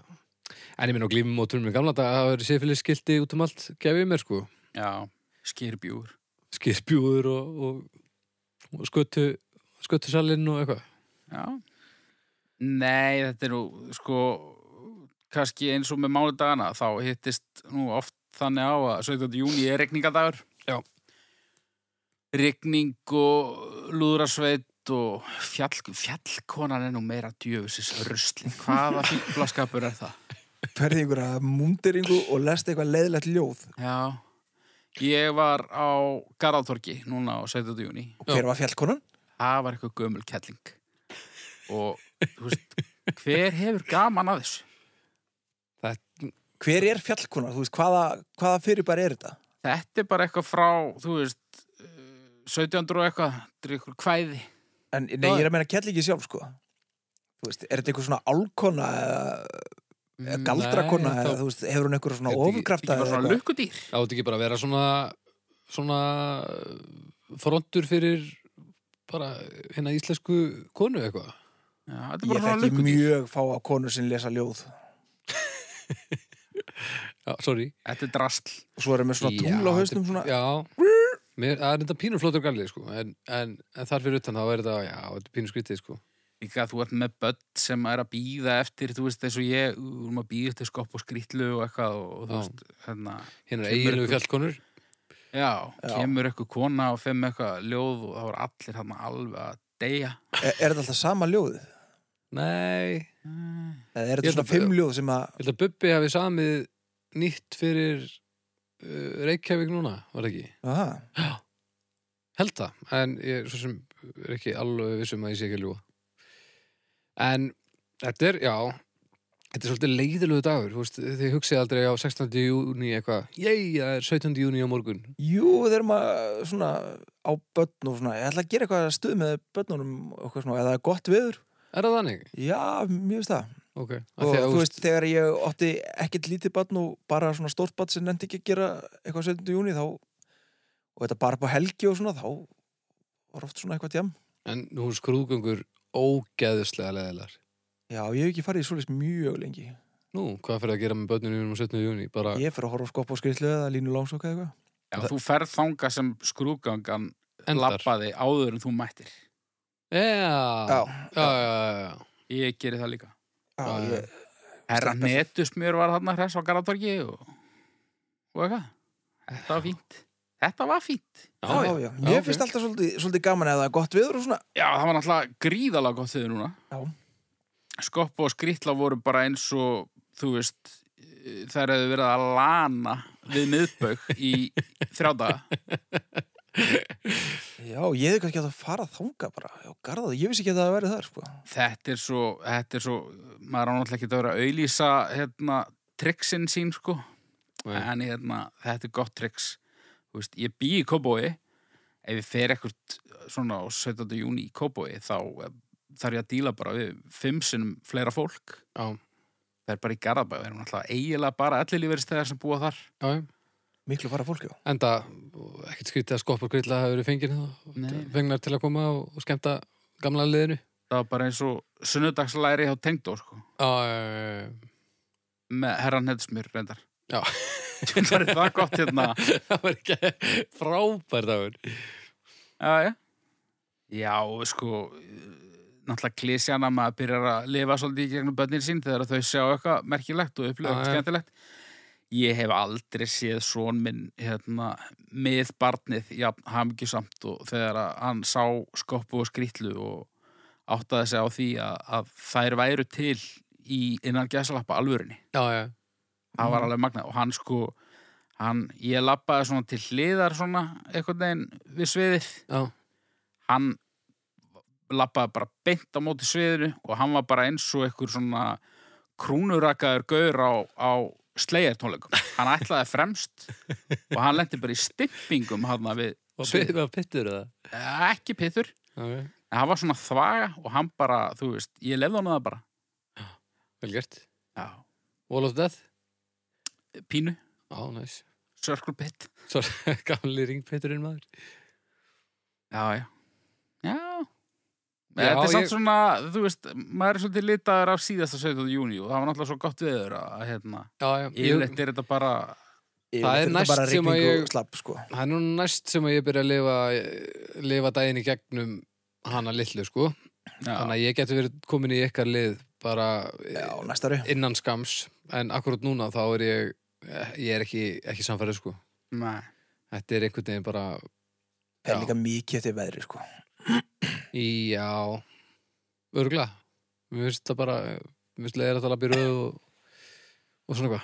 en ég minn á glímum og tunnum í gamla dag, það verið séfilis skilti út um allt, gefið mér sko.
Já, skirbjúr.
Skirpjúður og, og, og skötu, skötusalinn og eitthvað.
Já. Nei, þetta er nú, sko, kannski eins og með mánudagana, þá hittist nú oft þannig á að 17. júni er regningadagur.
Já.
Regning og lúðrasveit og fjall, fjallkonan er nú meira djöfusis rusli. Hvaða fíblaskapur er það?
Ferði ykkur að múnderingu og lest eitthvað leiðlegt ljóð.
Já. Ég var á Garðatorki núna á 17. júni.
Og hver var fjallkonan?
það var eitthvað gömul kelling og þú veist hver hefur gaman af þessu
Hver er fjallkonan? Þú veist, hvaða, hvaða fyrirbæri er þetta?
þetta er bara eitthvað frá þú veist eh, 1700 og eitthvað, þetta er eitthvað kvæði
En nei, ég er að meina kellingi sjálf, sko. Þú veist, er þetta eitthvað svona álkona eða eða galdrakona
Nei,
eða,
þá-
þú veist, hefur hún einhver svona
Þetta ekki-
ofurkrafta
þetta er Mm, bara svona lukkudýr
Það átti ekki bara að vera svona, svona frontur fyrir bara hérna íslensku konu eitthvað.
Já, þetta er
Ég
bara svona
þekki
lukkudýr
mjög fá á konur sem lesa ljóð.
Já, sorry.
þetta er drasl
Og svo erum við svona
Já,
tungl á hausnum
þetta-
svona.
Já, Mér, það er þetta pínur flottur galli sko. en, en, en þar fyrir utan þá er þetta já, þetta er pínur skrítið sko.
líka þú ert með börn sem er að býða eftir þú veist eins og ég, þú erum að býða eftir skopp og skrýtlu og eitthvað og, og þú
Já.
veist hérna,
Hinn er
Kemur
eiginlegu
ykkur-
fjallkonur
já,
Já.
kemur eitthvað kona og fem eitthvað ljóð og það voru allir hann alveg að deyja
Er, er þetta alltaf sama ljóð?
Nei,
Eh,
Eða er
Ég held
þetta svona
að-
fimm ljóð sem að...
ég held að Bubbi hafi samið nýtt fyrir uh, Reykjavík núna, var það ekki?
Aha,
Held það, en ég er svo sem er ekki alveg vissum að ég sé ekki að ljúa. En þetta er, já, þetta er svolítið leiðilegu dagur, þú veist, þið hugsið aldrei á 16. júni eitthvað, ég, það er 17. júni á morgun.
jú, þeir eru maður svona á börn og svona. Ég ætla að gera eitthvað stuð með börnunum og eitthvað svona. Eða það er gott viður.
Er það þannig?
Já, mjög veist það.
Ok.
Og
Þegar,
þú veist, þegar ég átti ekkert lítið barn og bara svona stórt barn sem nefndi ekki að gera eitthvað 17. júni þá og þetta bara upp á helgi og svona þá var oft svona eitthvað tjám.
en nú er skrúðgöngur ógeðuslega leðilar.
Já, ég hef ekki farið í svoleiðis mjög lengi.
Nú, hvað fyrir að gera með börnunum um 17. júni? Bara,
Ég fyrir að horfa á skopp og skriðlu eða línu langsóka eða eitthvað.
Já, þú ferð þanga sem skrúgangan
Endar.
lappaði áður en þú mættir.
Já, já, já, já.
Ég geri það líka.
Já,
já,
já.
ég,
Herra netusmjör var þarna hress á Garðatorgi og, og eitthvað. Þetta var fínt. Þetta var fínt.
já, já, já. Mér
ok.
finnst alltaf svolítið, svolítið gaman eða það er gott viður og svona.
Já, það var náttúrulega gríðalega gott þegar núna.
Já.
Skopp og skrýtla voru bara eins og, þú veist, eh, þær hefðu verið að lana við miðbaug í þrjá daga.
Já, ég hef kannski átt að fara þanga bara. Já, garðað, ég vissi ekki að það væri þar, sko.
Þetta er svo, þetta er svo, maður á náttúrulega ekki að vera að auðlýsa, hérna, triksin sín sko
Já.
en hérna, þetta er gott triks Þú veist, ég bý í Kóbói ef ég fer ekkert svona á 17. júni í Kóbói þá eh, þarf ég að díla bara við fimm sinnum fleira fólk
Já.
það er bara í Garðabæ, við erum alltaf eiginlega bara ellilífeyristegðar sem búa þar
Já, já.
miklu fara fólki á.
Enda, ekkert skrítið að skoppar grilla hafa verið fengir
Nei.
fengnar til að koma og, og skemmta gamla liðinu.
það var bara eins og sunnudagslæri hjá Tengdó sko.
Já, já,
með herran hefðismur reyndar
Já.
[laughs] það er það gott hérna
já, já. [laughs] það var ekki [laughs] frábær dagur.
Já, já. Já, og sko, náttúrulega klísjana maður byrjar að lifa svolítið í gegnum börnin sín þegar þau sjá eitthvað merkilegt og upplifa
Já,
eitthvað
já.
skemmtilegt. Ég hef aldrei séð svon minn hérna, með barnið jafn hamgjusamt og þegar að hann sá skoppu og skrýtlu og áttaði sig á því að, að þær væru til í innan gæsalappa alvörinni
Já, já,
það var alveg magnað og hann sko hann, ég lappaði svona til hliðar svona einhvern veginn við sviðið
já.
hann lappaði bara beint á móti sviðinu og hann var bara eins og einhver svona krúnurakaður gaur á, á slegartónleikum hann ætlaði fremst og hann lendi bara í stippingum hann við
Og
sviðið,
pittur, pittur eða?
ekki pithur
Já, já.
en hann var svona þvaga og hann bara, þú veist, ég lefði hann það bara
Vel gert.
já,
Wall of Death?
pínu,
Já, næs. [laughs]
circle pit
Svo gamli ringpitturinn maður.
Já, já. Já.
Já,
þetta er samt
ég-
svona, þú veist, maður er svolítið litaður af síðasta 17. júni og það var náttúrulega svo gott veður að, að hérna,
Já, já.
yfirleitt er þetta bara,
Það er
Yfirleitt þetta bara
næst sem að
rigning og
ég-
Slapp, sko.
Það er nú næst sem að ég byrja að lifa, lifa daginn í gegnum hana litlu, sko. Þannig
já,
að ég geti verið komin í ykkar lið bara
Já, næsta ári.
innan skams. En akkurat núna þá er ég, ég er ekki, ekki samfærið, sko.
nei,
Þetta er einhvern veginn bara,
Það er
já.
líka mikið eftir veðri, sko.
í, já, örgla. Mér finnst það bara, mér finnst leiðir að tala byrjuð og, og svona hvað.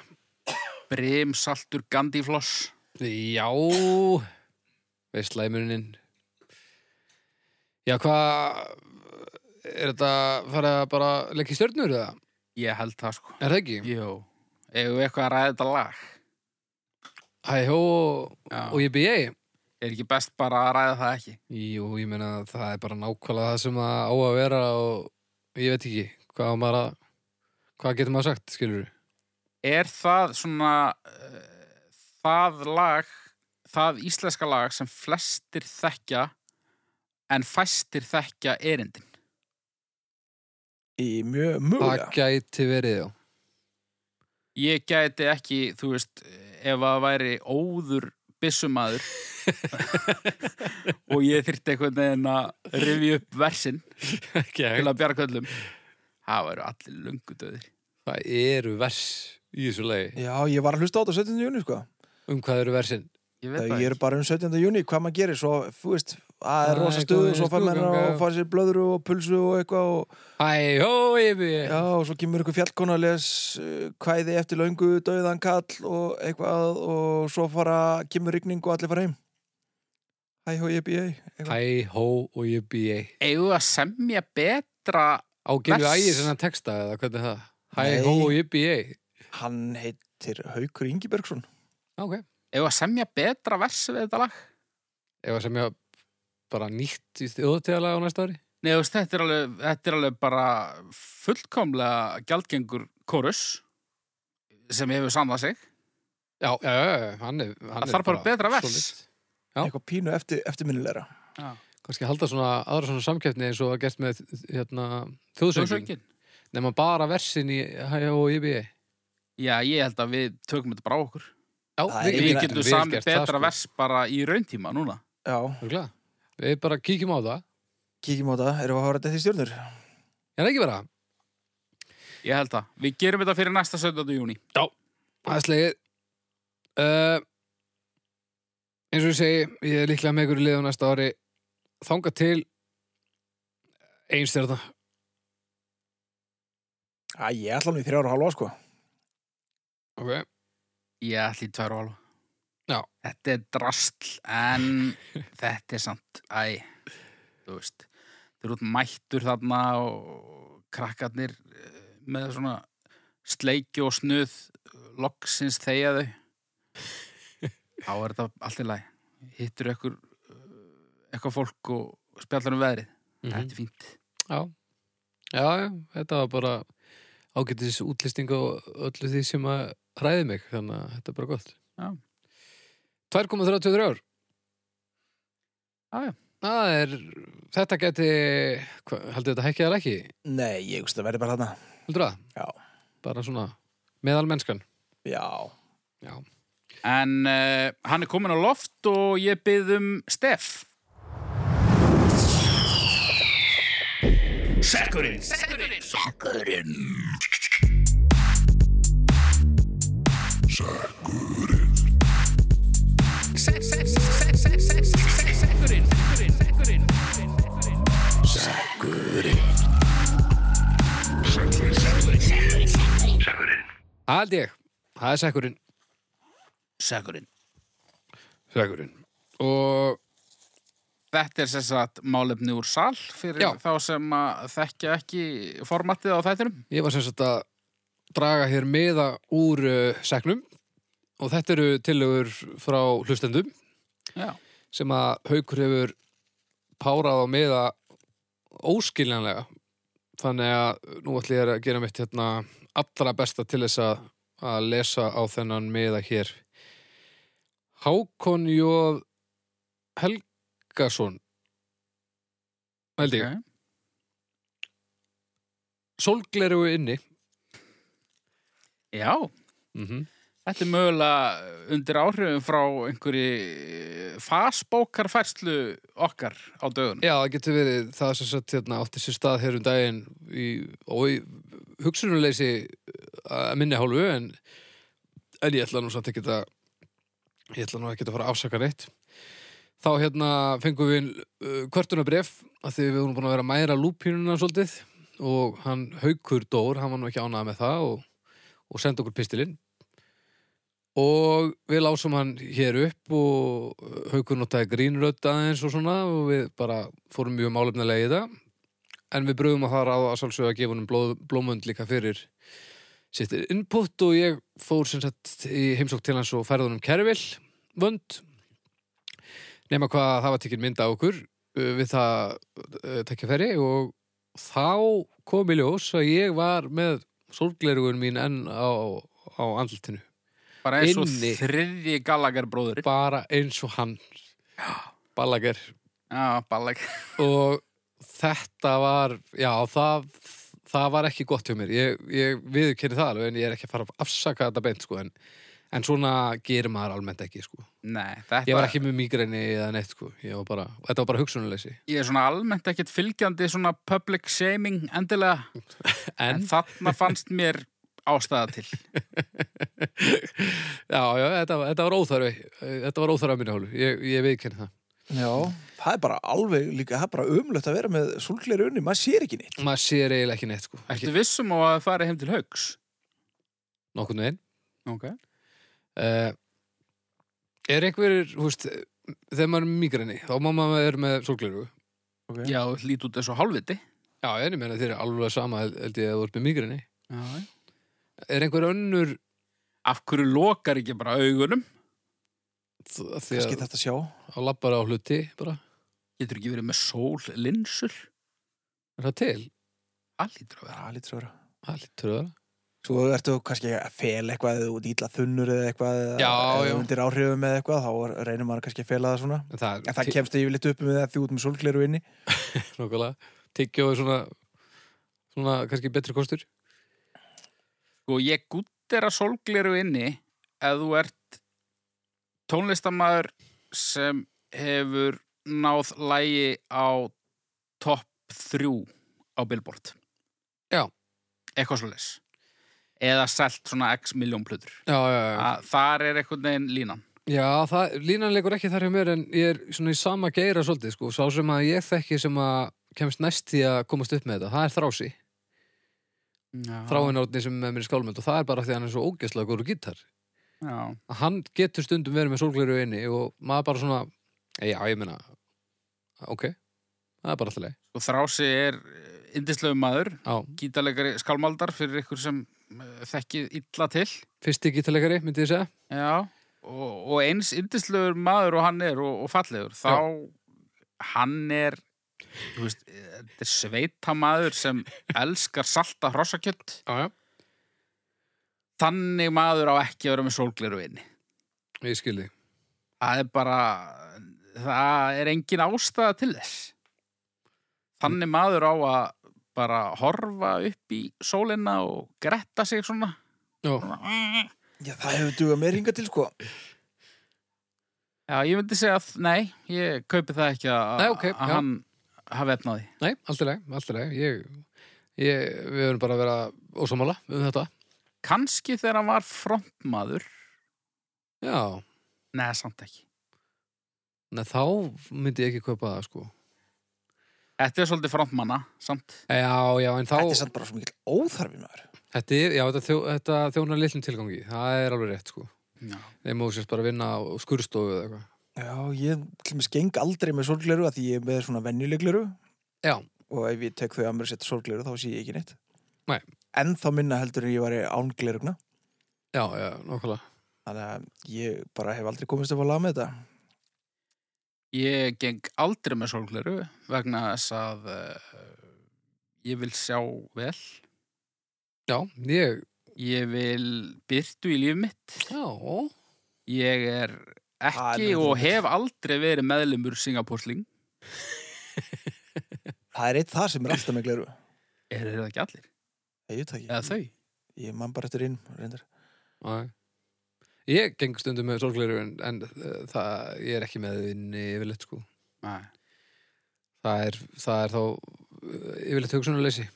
brim, saltur, gandífloss,
Já, veistlæmunin. Já, hvað, er þetta farið að bara leggja í stjörnur eða?
ég held það sko.
Er það ekki?
Jú, eigum við eitthvað að ræða þetta lag?
Hæ, hó,
Já.
og ég býja
Er ekki best bara að ræða það ekki?
Jú, ég meina það er bara nákvæmlega það sem að á að vera og ég veit ekki hvað á maður að, hvað getur maður sagt, skilur við?
Er það svona, uh, það lag, það íslenska lag sem flestir þekkja en fæstir þekkja erindin?
Í mjög
Það
mögulega.
gæti verið,
[laughs]
já.
Ég gæti ekki, þú veist, ef að væri óður byssumadur og ég þyrfti einhvern veginn að rifja upp versin
Ekki,
til að bjarga öllum. Það væru allir lungu döðir.
Hvað eru vers í þessu lagi?
Já, ég var að hlusta á þetta 17. júni, sko.
Um hvað eru versin?
Ég veit
Það
það
ég er
ekki.
bara um 17. júni, hvað maður gerir, svo, þú veist, það er
Það
rosa
er
stuð og
eitthvað
svo fær maður
skrúðganga
að
og-
fá sér blöðru og pulsu og eitthvað og,
Hæ, hó, ég býja
já, og svo kemur ykkur fjallkona að les uh, kvæði eftir löngu, dauðan kall og eitthvað og svo fara, kemur rigning og allir fara heim. Hæ, hó, ég býi, eitthvað.
Hæ, hó, og ég býja
Eigum við að semja betra,
Á gilvi
Vers.
ægir þennan texta eða hvernig er það? Hæ,
Nei.
hó, og ég býja
Hann heitir Haukur Ingibergsson.
Ok.
eigum við að semja betra versi við þetta lag?
Ef að sem ég bara nýtt í þjóðtíðalega á næsta ári?
Nei, þú veist, þetta er alveg, þetta er alveg bara fullkomlega gjaldgengur kórus sem hefur samðað sig.
Já, já, já, já, hann er, hann
Það
er
þarf bara betra vers.
solid. Já.
Eitthvað pínu eftir, eftirminnilegra.
kannski halda svona aðra svona samkeppni eins og var gert með hérna, þjóðsöngin
Þjóðsöngin?
nema bara versin í HOIBI
Já, ég held að við tökum þetta bara á okkur.
Já,
Það
við,
er
Við
ekki
sko.
Ég
getum sami betra vers bara í rauntíma núna.
Já,
sko. Örugglega. Við bara kíkjum á það
kíkjum á þetta, erum við að hafa þetta í stjórnur?
Er það ekki bara?
Ég held það. Við gerum þetta fyrir næsta 17. júni.
Það er slegið uh, Eins og ég segi ég er líklega með ykkur í liðu næsta ári þanga til einstjörna
Æ, ég ætla hann í þrjára og halva, sko.
okay.
Ég ætli í tvær og halva.
Já.
Þetta er drastl, [laughs] en þetta er samt, æ, þú veist, þú eru út mættur þarna og krakkarnir eh, með svona sleiki og snuð eh, loksins þegja þau þá er þetta allt í lagi hittur ekkur eitthvað fólk og spjallar um veðrið þetta er fínt
Já. já, já, þetta var bara ágætis útlisting á öllu því sem að hræði mig, þannig að þetta er bara gott.
Já.
2,33 ár.
Já, já.
Það er, þetta geti, hva, heldur þetta hækkið eða ekki?
Nei, ég veist að verði bara þarna.
Heldur það?
Já.
Bara svona, meðalmennskan.
Já.
Já.
en uh, hann er komin á loft og ég byrð um Steff
Það held ég. Það er sekkurinn.
Sækurinn
Sekkurinn. Og
Þetta er sem sagt málefni úr sal fyrir
Já.
þá sem að þekkja ekki formatið á þættinum.
Ég var sem sagt að draga hér meða úr uh, segnum og þetta eru tillögur frá hlustendum
Já.
sem að haukur hefur párað á meða óskiljanlega þannig að nú ætlum ég að gera mitt hérna allra besta til þess að, að lesa á þennan meða hér Hákon Jóð Helgason held ég
Ok.
Sólgleru inni
Já,
mm
þetta er mögulega undir áhrifum frá einhverju fasbókarfærslu okkar á dögun.
Já, það getur verið það sem satt hérna átti sér stað hér um daginn í, og í hugsunuleysi að minni hálfu en, en ég ætla nú samt ekki að ég ætla nú ekki að fara að afsaka neitt þá hérna fengum við uh, kvörtunabref að því við vorum búin að vera að mæra lúpínuna svolítið og hann haukur dór, hann var nú ekki ánað með það og, og sendi okkur pistilinn og við lásum hann hér upp og haukur notaði grínrödd aðeins og svona og við bara fórum mjög málefnilega í það en við bröðum að það ráða að sálsögja að gefa honum blóð, blómönd líka fyrir sitt input og ég fór sem sagt í heimsók til hans og færði honum kerfil vönd nema hvað það var tekinn mynd á okkur uh, við það uh, tekkjafæri og þá kom í ljós að ég var með sorglerugun mín enn á, á andlutinu
Bara eins og
Inni.
þriðji Gallagher bróðurinn.
bara eins og hann Ballager
Já, Gallagher.
og þetta var já, það, það var ekki gott hjá mér ég, ég viðurkenni það alveg en ég er ekki að fara að afsaka þetta beint sko en, en svona gerir maður almennt ekki sko
Nei, þetta...
ég var ekki með migræni eða neitt sko ég var bara, þetta var bara hugsunuleysi
Ég er svona almennt ekkert fylgjandi svona public shaming endilega. En,
en,
þarna fannst mér ástæða til.
[laughs] já, já, þetta, var- þetta var óþarfi þetta var óþarfi að minni hólu, ég, ég viðurkenni það
Já. Það er bara alveg líka, það er bara umlögt að vera með sólgleru unni, maður sér ekki neitt.
maður sér eiginlega ekki neitt sko
Ertu
ekki
vissum á að fara heim til haugs?
nokkurn veginn
Ok.
uh, er einhverjir, þú veist þegar maður er með migræni, þá má maður vera með sólgleru
Okay.
Já, lít út eins og hálfviti.
Já, en ég meina þér er alveg sama held- held ég að þú ert með migræni.
Já, já.
Er einhver önnur
af hverju lokar ekki bara augunum
þ- því
Kannski
að
þetta sjá.
það lappar á hluti bara?
getur ekki verið með sól linsur
Er það til?
allítur að vera
Það lítur að vera.
Það lítur það.
Svo ertu kannski að fel eitthvað eða út ítla þunnur eða eitthvað eða
Já,
eða
já.
undir áhrifum eða eitthvað, þá er- reynir maður kannski að fela það svona.
En það,
En það kemst yfir litt upp með það því út með sólgleru inni.
kemur nokkulega. Tyggjó er svona, svona kannski betri kostur.
sko ég gúttera sólgleru inni ef þú ert tónlistamaður sem hefur náð lægi á topp þrjú á Billboard
Já.
eitthvað svo eða selt svona x miljón plöður
Já, já, já.
þar er einhvern veginn línan
Ah. Já, það, línan leikur ekki þar hjá mér en ég er svona í sama geira svolítið, sko. Sá sem að ég þekki sem að kemst næst því að komast upp með þetta. Það er þrási. Þráin átni Ah. sem er með mér í skálmönd og það er bara því að hann er svo ógeðslega góru gítar.
já
að hann getur stundum verið með sólgleru inni og maður bara svona já, ég meina, ok það er bara alltaf leið
og Þrási er eh, yndislegu maður
já,
gítalegari skálmaldar fyrir ykkur sem eh, þekki illa til
Fyrsti gítalegari, myndi ég segja.
Já, og, og eins yndislegur maður og hann er og, og fallegur, þá hann er, þú veist, eh, þetta er sveitamaður sem elskar salta hrossakjött.
Já, já.
Þannig maður á ekki að vera með sólgleru inni.
Ég skildi.
Það er bara, það er engin ástæða til þess. Þannig maður á að bara horfa upp í sólina og gretta sig svona.
Já,
Já, það hefur dugað mér hingað til, sko.
Já, ég myndi segja að, nei, ég kaupi það ekki að,
Nei, ok,
að
já.
hann hafi efnaði.
nei, allt í lagi, allt í lagi. Ég, ég, við höfum bara að vera ósámála um þetta.
Kanski þegar hann var frontmaður
Já,
Nei, samt ekki
neð þá myndi ég ekki kaupa það, sko.
Þetta er svolítið frontmanna, samt
Já, já, en þá...
Þetta er samt bara svo mikil óþarfi maður.
Þetta, er- já, þetta, þjó, þetta þjónar litlum tilgangi, það er alveg rétt sko.
Já,
Þeim móðu sérst bara að vinna á skurstofu eða eitthvað.
Já, ég til mér skeng aldrei með sorgleru að því ég er með svona venjulegleru
Já,
og ef ég tek þau að mér setja sorgleru þá sé ég ekki neitt.
Nei.
En þá minna heldur en ég var ánglerugna.
já, já, nokkulega.
Þannig að ég bara hef aldrei komist upp að laga með þetta.
Ég geng aldrei með sólgleru vegna þess að uh, ég vil sjá vel
Já, ég,
Ég vil byrtu í líf mitt
já,
Ég er
Ah,
ekki
nei, þú
og
ert-
hef aldrei verið meðlumur Singapúrsling
Það er eitt það sem er alltaf með gleru.
Er það ekki allir?
Ég veit það ekki.
Eða þau?
Ég man bara eftir inn, reyndar.
næ. Ég geng stundum með sorgleiru en, en uh, það, ég er ekki með vinni yfirleitt sko.
Nei
Það er, það er þá uh, yfirleitt hugsunarleysi.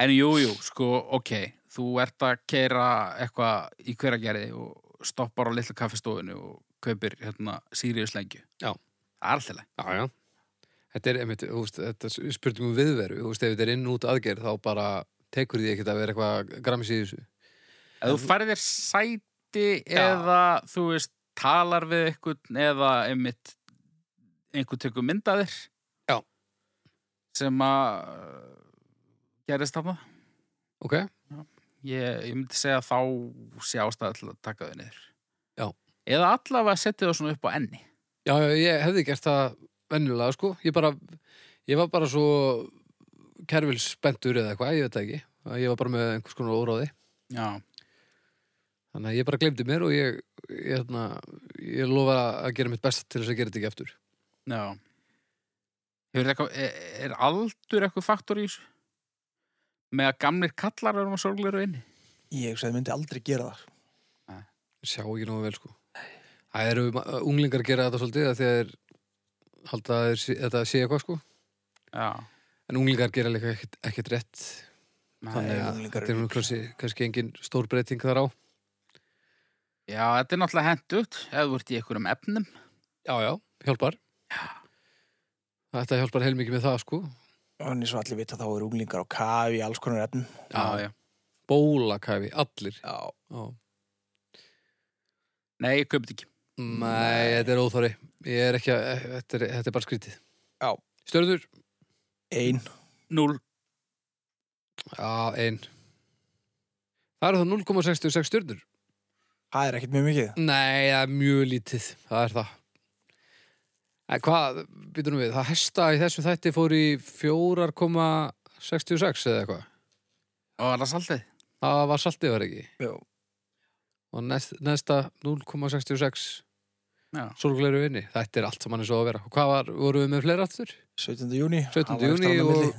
En jú, jú, sko, ok, þú ert að keira eitthvað í hveragerði og stoppar á litlu kaffestofinu og kaupir hérna Sirius lengju.
Já.
Það er alltaf leið.
Já, já. Þetta er, einmitt, þú veist, þetta er spurning um viðveru, þú veist, ef þetta er inn og út aðgerð þá bara tekur því ekkert að vera eitthvað grammis í þessu.
Ef þú færið þér sæti
Já.
eða, þú veist, talar við einhvern eða einmitt einhvern tökum myndaðir.
Já.
Sem að uh, gerist þarna.
Ok?
Ég, ég myndi segja að þá sé ástæða til að taka þau niður.
Já.
Eða allavega setja þau svona upp á enni.
Já, já, ég hefði gert það venjulega, sko. Ég bara, ég var bara svo kerfilsbendur eða eitthvað, ég veit það ekki. Að Ég var bara með einhvers konar óráði.
Já.
Þannig að ég bara glemdi mér og ég, ég, hérna, ég lofa að gera mitt besta til þess að gera þetta ekki aftur.
Já. Hefur þetta eitthvað, er, er aldur eitthvað faktor í þessu? Með að gamlir kallar erum að sorgleru inni?
Ég hugsa að ég myndi aldrei gera það.
Ég Sjá ekki nógu vel, sko. Það eru ma- unglingar að gera þetta svolítið að þegar halda að þeir sé- þetta sé eitthvað, sko.
Já.
En unglingar gera líka ekkert, ekkert rétt. Þannig að
unglingar
þetta er
eru
nú kannski, kannski engin stór breyting þar á.
Já, þetta er náttúrulega hendugt ef þú ert í einhverjum efnum.
Já, já, hjálpar. Þetta hjálpar heilmikið með það, sko.
En eins og allir vita þá eru unglingar á kafi í alls konar efnum.
já.
Bólakæfi, allir
Já.
Já.
Nei, ég kaupið ekki.
Nei, þetta er óþári Ég er ekki að, þetta er, þetta er bara skrítið
Já.
Stjörður?
Einn.
Núl.
Já, ein Það eru þá 0,66 stjörnur
Það er ekkert mjög mikið.
Nei, það er mjög lítið Það er það En hvað, býtum við, það hesta í þessum þætti fór í 4,66 eða eitthvað
Og var það saltið?
Það var saltið var ekki
Já.
Og næst, næsta 0,66
Já.
Sorgleiru inni, þetta er allt saman eins og á að vera Og hvað var, voru við með fleira aftur?
17. júni.
17. júní og-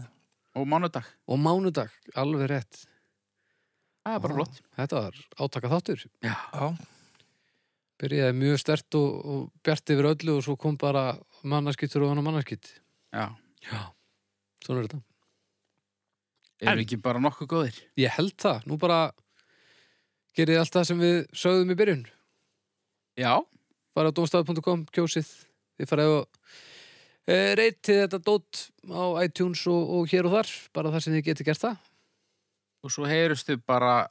Og mánudag.
Og mánudag, alveg rétt.
Það er bara
Já.
flott.
Þetta var átaka þáttur.
Já.
Já.
Byrjaði mjög stert og, og bjart yfir öllu og svo kom bara mannarskittur og hann mannarskitt.
Já.
Já. Svona er þetta. En-
Eru ekki bara nokkuð góðir?
Ég held það. Nú bara gerið allt það sem við sögðum í byrjun.
Já.
Bara á domstaf.com, kjósið. Þið farið og e, reytið þetta dót á iTunes og, og hér og þar. Bara þar sem þið getið gert það.
Og svo heyrustu bara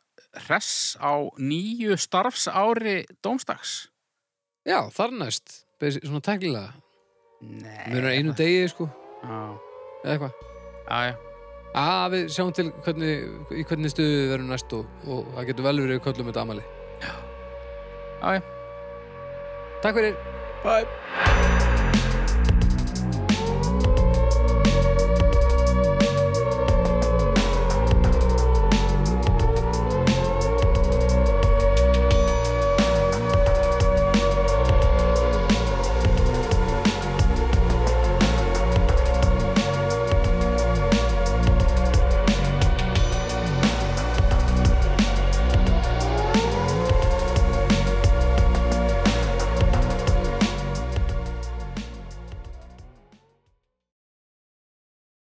hress á nýju starfsári dómstags.
Já, þar næst. Beis- Svona tæklilega.
Nei.
Mjög einu degi, sko.
Já.
Eða eitthvað.
Já, já.
Æ, að við sjáum til hvernig, í hvernig stuðu við verum næst og, og það getur vel verið við köllum þetta amali
Já, já.
Takk fyrir
Bye.